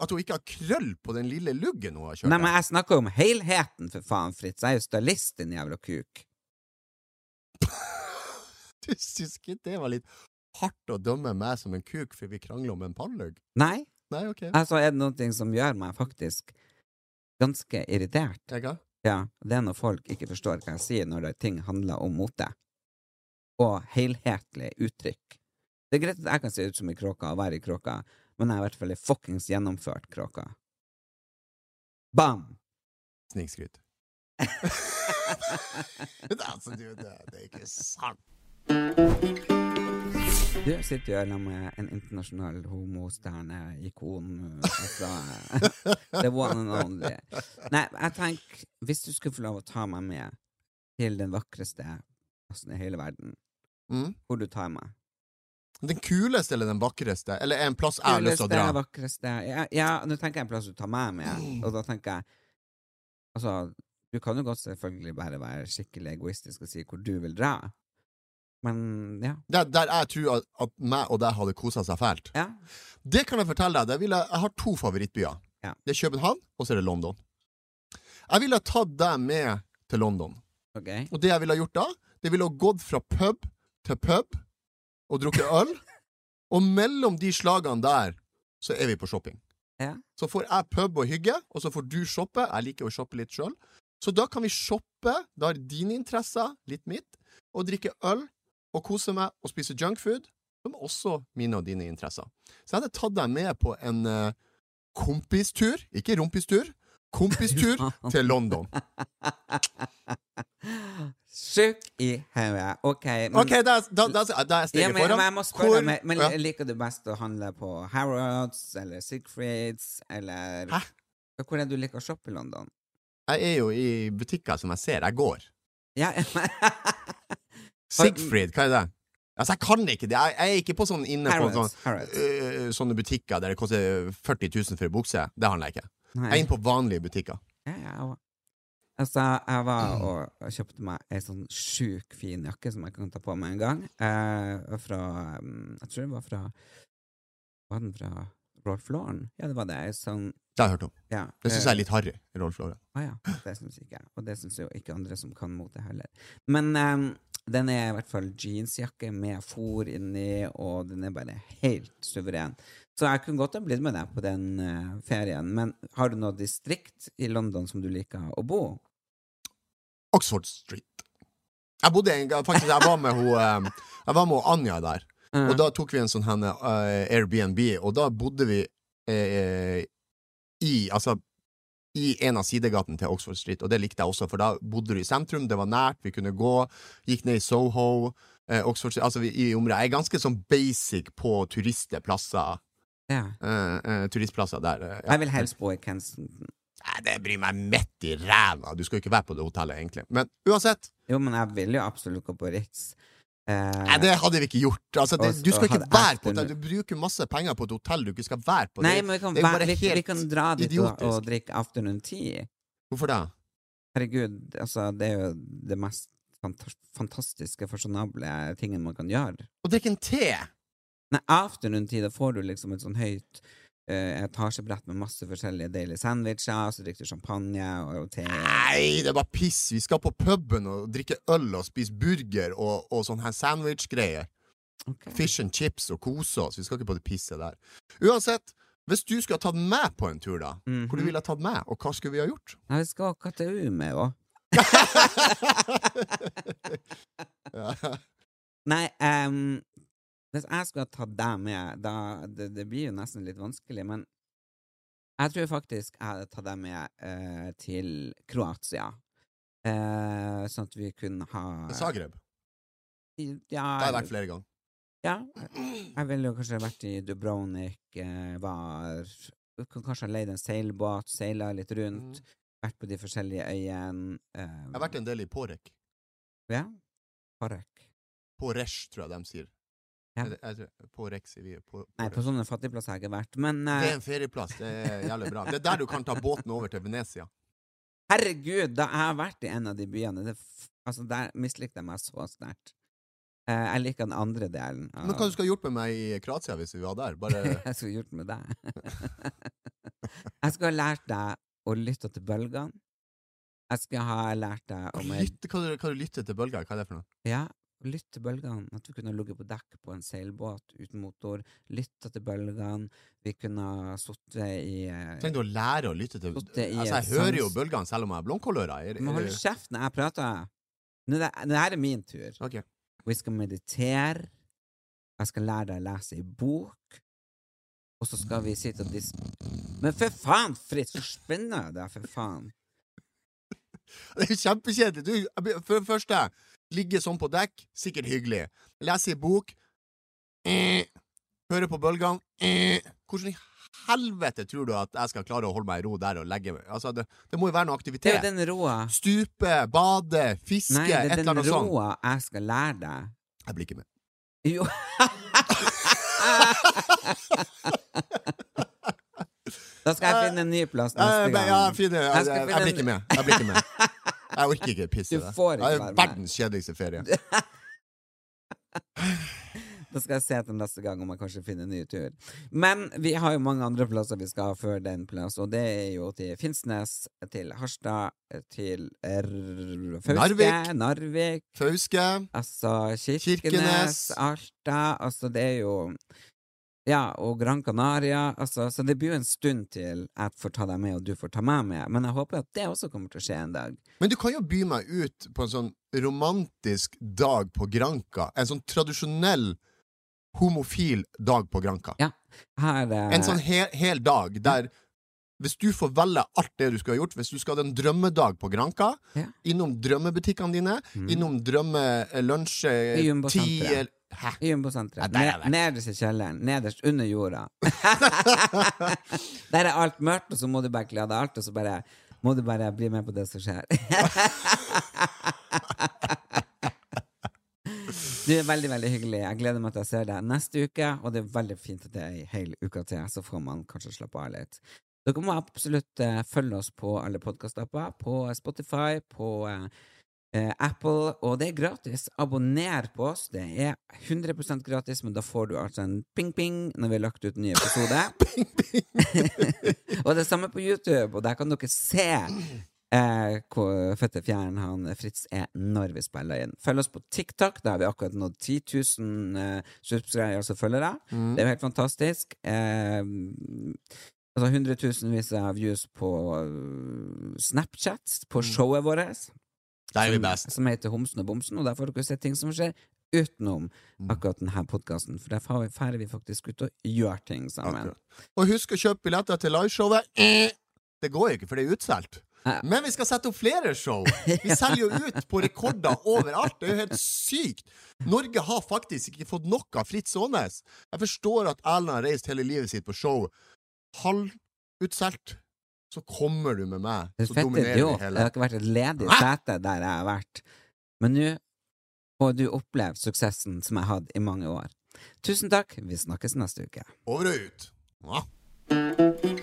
S4: At hun ikke har krøll på den lille luggen hun har kjørt?
S3: Nei, men jeg snakker jo om helheten, for faen, Fritz. Jeg er jo stylist, din jævla kuk.
S4: Du syns ikke det var litt hardt å dømme meg som en kuk for vi krangler om en pannelugg?
S3: Nei,
S4: Nei, ok.
S3: altså, er det noe som gjør meg faktisk ganske irritert?
S4: Egga?
S3: Ja, det er når folk ikke forstår hva jeg sier når det ting handler om mote. Og helhetlig uttrykk. Det er greit at jeg kan se ut som ei kråke og være ei kråke, men jeg er i hvert fall ei fuckings gjennomført kråke. Bam!
S4: Snikskryt. Det er altså, du, det, det er ikke sant.
S3: Du sitter jo sammen med en internasjonal homostjerne, ikon altså, The one and only. Nei, jeg tenker, hvis du skulle få lov å ta meg med til den vakreste plassen i hele verden,
S4: Mm.
S3: hvor du tar meg
S4: Den kuleste eller den vakreste? Eller en plass jeg har lyst til å
S3: Kuleste,
S4: dra? Mm.
S3: vakreste ja, ja, nå tenker jeg en plass du tar meg med, og da tenker jeg Altså, du kan jo godt selvfølgelig bare være skikkelig egoistisk og si hvor du vil dra, men ja.
S4: Der, der jeg tror at, at meg og deg hadde kosa seg fælt.
S3: ja.
S4: Det kan jeg fortelle deg. Jeg, vil, jeg har to favorittbyer.
S3: Ja.
S4: Det er København, og så er det London. Jeg ville ha tatt deg med til London.
S3: Ok.
S4: Og det jeg ville ha gjort da, det ville ha gått fra pub til pub og drukket øl. og mellom de slagene der, så er vi på shopping.
S3: Ja.
S4: Så får jeg pub og hygge, og så får du shoppe. Jeg liker å shoppe litt sjøl. Så da kan vi shoppe. Da er dine interesser litt mitt. Og drikke øl og kose meg og spise junkfood som også mine og dine interesser. Så jeg hadde tatt deg med på en eh, kompistur, ikke rumpistur, kompistur til London.
S3: Sjuk i hodet. OK. men-
S4: Ok, da, da, da, da er
S3: Mm. ja,
S4: steget
S3: men, men
S4: foran.
S3: jeg må spørre,
S4: Hvor-
S3: men, men
S4: ja.
S3: liker du best å handle på Harrods eller Sigfrids eller
S4: Hæ?
S3: Hvor er det du liker å shoppe i London?
S4: Jeg er jo i butikker som jeg ser, jeg går.
S3: Ja,
S4: Sigfrid, hva er det? Altså, jeg kan ikke det. Jeg, jeg er ikke på sånn inne på sånn,
S3: Harrods. Harrods.
S4: øh, sånne butikker der det koster 40 000 for ei bukse. Det handler jeg ikke. Jeg er
S3: Nei.
S4: inne på vanlige butikker.
S3: Ja, ja, jeg var- Altså, jeg
S4: Mm.
S3: var og og kjøpte meg ei sånn sjukt fin jakke som jeg kan ta på meg en gang. Eh, fra mm, Jeg tror den var fra Var den fra Rolf Lauren? Ja, det var det. ei Sånn,
S4: Det har jeg hørt om.
S3: ja. eh,
S4: Det syns jeg er litt harry. Rolf Lauren.
S3: Å ja, det syns ikke jeg. Og det syns jo ikke andre som kan mote heller. Men ehm, den er i hvert fall jeansjakke med fôr inni, og den er bare helt suveren. Så jeg kunne godt ha blitt med deg på den eh, ferien. Men har du noe distrikt i London som du liker å bo?
S4: Oxford Street. Jeg bodde en gang, faktisk, jeg var med hun eh, Jeg var med hun Anja der,
S3: Mm.
S4: og da tok vi en sånn henne eh, Airbnb, og da bodde vi eh, i Altså i en av sidegatene til Oxford Street, og det likte jeg også, for da bodde du i sentrum, det var nært, vi kunne gå, gikk ned i Soho, eh, Oxford Street, altså vi, i området. Jeg er ganske sånn basic på turistplasser,
S3: Ja.
S4: eh, eh, turistplasser der. eh, ja.
S3: Jeg vil helst bo i Kensington.
S4: Nei, det bryr meg midt i ræva, du skal jo ikke være på det hotellet, egentlig. Men uansett,
S3: Jo, men jeg vil jo absolutt gå på Ritz. Eh,
S4: Nei, det hadde vi ikke gjort. Altså, det,
S3: Og-
S4: du
S3: og
S4: skal ikke
S3: hadde
S4: være på
S3: afternoon.
S4: hotell. Du bruker masse penger på et hotell du ikke skal være på.
S3: Nei,
S4: Det-
S3: men vi kan,
S4: det er jo
S3: være-
S4: bare
S3: vi, vi
S4: helt
S3: kan dra dit og,
S4: idiotisk.
S3: og drikke afternoon tea.
S4: Hvorfor det?
S3: Herregud, altså, det er jo det mest fanta- fantastiske, fasjonable tingen man kan gjøre.
S4: Å drikke en te!
S3: Nei, afternoon-tid, da får du liksom et sånn høyt eh, etasjebrett med masse forskjellige deilige sandwicher, så drikker du champagne og, og te.
S4: Nei, det er bare piss. Vi skal på puben og drikke øl og spise burger og, og sånn her sandwich-greier.
S3: Ok.
S4: Fish and chips og kose oss. Vi skal ikke på det pisset der. Uansett, hvis du skulle ha tatt meg på en tur, da, hvor
S3: Mhm.
S4: du ville ha tatt meg, og hva skulle vi ha gjort?
S3: Nei, vi skal ha KTU med òg.
S4: Ja.
S3: Nei, ehm, hvis jeg skulle ha tatt deg med, da det, det blir jo nesten litt vanskelig, men jeg tror faktisk jeg hadde tatt deg med eh, til Kroatia. Eh, sånn at vi kunne ha
S4: Zagreb. Det har jeg
S3: Ja,
S4: vært flere ganger.
S3: ja. Jeg ville jo kanskje vært i Dubrovnik, eh, var kan Kanskje ha leid en seilbåt, seila litt rundt, vært på de forskjellige øyene. eh,
S4: Mm. Jeg har vært en del i Porek.
S3: Ja. Park.
S4: Poresh, tror jeg de sier.
S3: Ja.
S4: Jeg, jeg, tror- Porek sier vi. På,
S3: Nei, på
S4: Porek.
S3: sånne fattigplasser har jeg ikke vært, men eh,
S4: det er en ferieplass. Det er jævlig bra. Det er der du kan ta båten over til Venezia.
S3: herregud, da jeg har vært i en av de byene det, f- Altså, der mislikte jeg meg så sterkt. Eh, jeg liker den andre delen. Av,
S4: Men hva du skal ha gjort med meg i Kroatia hvis vi var der? Bare
S3: jeg skulle gjort med deg. jeg skulle ha lært deg å lytte til bølgene. Jeg skulle ha lært deg om
S4: lytte, hva, du- hva du lytter til bølger? Hva er det for noe?
S3: Ja, lytt til bølgene. At vi kunne ligget på dekk på en seilbåt uten motor, lytta til bølgene, vi kunne sitte i eh,
S4: Trenger du å lære å lytte til
S3: Lytte i
S4: Altså, jeg
S3: et
S4: hører jo
S3: sans.
S4: bølgene selv om jeg har blomkålører. Er-
S3: Men hold
S4: er-
S3: kjeft når jeg prater! Nå, det, det her er min tur.
S4: Ok.
S3: Vi skal meditere. Jeg skal lære deg å lese ei bok. Og så skal vi sitte og dis... Men for faen, Fritz, så spennende det er, for faen!
S4: Det er jo kjempekjedelig. Du, jeg blir- for det første, ligge sånn på dekk, sikkert hyggelig. Lese i bok. Eh, høre på bølgene. Eh. Hvordan i helvete tror du at jeg skal klare å holde meg i ro der og legge meg? Altså, det, det må jo være noe
S3: Det er jo
S4: aktivitet.
S3: den roa
S4: Stupe, bade, fiske,
S3: Nei, det er
S4: et eller
S3: den
S4: annet sånt.
S3: roa jeg skal lære deg.
S4: Jeg blir ikke med.
S3: Jo. da skal jeg finne en ny plass neste
S4: Jeg,
S3: gang.
S4: Eh, ja, fine. jeg,
S3: Jeg skal
S4: jeg, jeg
S3: finne
S4: blir ikke
S3: en-
S4: med. Jeg blir ikke med. Jeg orker ikke pisse i
S3: Du
S4: det.
S3: får
S4: Det er
S3: ikke være med.
S4: verdens kjedeligste ferie.
S3: Da skal jeg se etter neste gang om jeg kanskje finner en ny tur. Men vi har jo mange andre plasser vi skal før den plass, og det er jo til Finnsnes, til Harstad, til R... Fauske,
S4: Narvik.
S3: Narvik,
S4: Fauske.
S3: altså Kirkenes,
S4: Kirkenes.
S3: Alta, altså det er jo ja, og Gran Canaria, altså, så det blir jo en stund til jeg får ta deg med, og du får ta meg med, men jeg håper at det også kommer til å skje en dag.
S4: Men du kan jo by meg ut på en sånn romantisk dag på Granka. En sånn tradisjonell homofil dag på Granka.
S3: Ja. Her eh,
S4: En sånn hel, hel dag der hvis du får velge alt det du skulle ha gjort, hvis du skal ha en drømmedag på Granka,
S3: Ja. Mm.
S4: innom drømmebutikkene dine, innom drømmelunsj
S3: I Jumbo
S4: ti
S3: senteret.
S4: eller- Hæ?
S3: I Jumbosenteret.
S4: Ja, der har jeg
S3: Ne-
S4: vært.
S3: nederst i kjelleren. Nederst under jorda. Der er alt mørkt, og så må du bare kle av deg alt, og så bare må du bare bli med på det som skjer. Du er veldig veldig hyggelig. Jeg gleder meg til jeg ser deg neste uke. Og det er veldig fint at det er ei hel uke til, så får man kanskje slappe av litt. Dere må absolutt eh, følge oss på alle podkastapper. På Spotify, på eh, eh, Apple, og det er gratis. Abonner på oss. Det er 100 gratis, men da får du altså en ping-ping når vi har lagt ut en ny episode. og det samme på YouTube, og der kan dere se eh, hvor fette fjæren han Fritz er når vi spiller inn. Følg oss på TikTok, der har vi akkurat nådd 10 000 eh, subscribere, altså følgere. Det er jo helt fantastisk. Eh, altså hundretusenvis av views på eh, Snapchat, på showet vårt
S4: Der er vi
S3: som-
S4: best.
S3: Som heter Homsen og Bomsen, og der får dere se ting som skjer utenom
S4: Mm.
S3: akkurat denne podkasten. For der far- færer vi faktisk ut og gjør ting sammen.
S4: Og husk å kjøpe billetter til liveshowet. Eh, Det går jo ikke, for det er utsolgt.
S3: Ja.
S4: Men vi skal sette opp flere show! Vi selger jo ut på rekorder overalt. Det er jo helt sykt! Norge har faktisk ikke fått nok av Fritz Aanes. Jeg forstår at Erlend har reist hele livet sitt på show. Halvutsolgt. Så kommer du med meg,
S3: Det
S4: så
S3: fette er
S4: dominerer
S3: jo
S4: vi
S3: at
S4: hele.
S3: det har ikke vært et ledig
S4: Hæ?
S3: sete der jeg har vært. Men nå får du oppleve suksessen som jeg har hatt i mange år. Tusen takk, vi snakkes neste uke.
S4: Over og ut. Ja.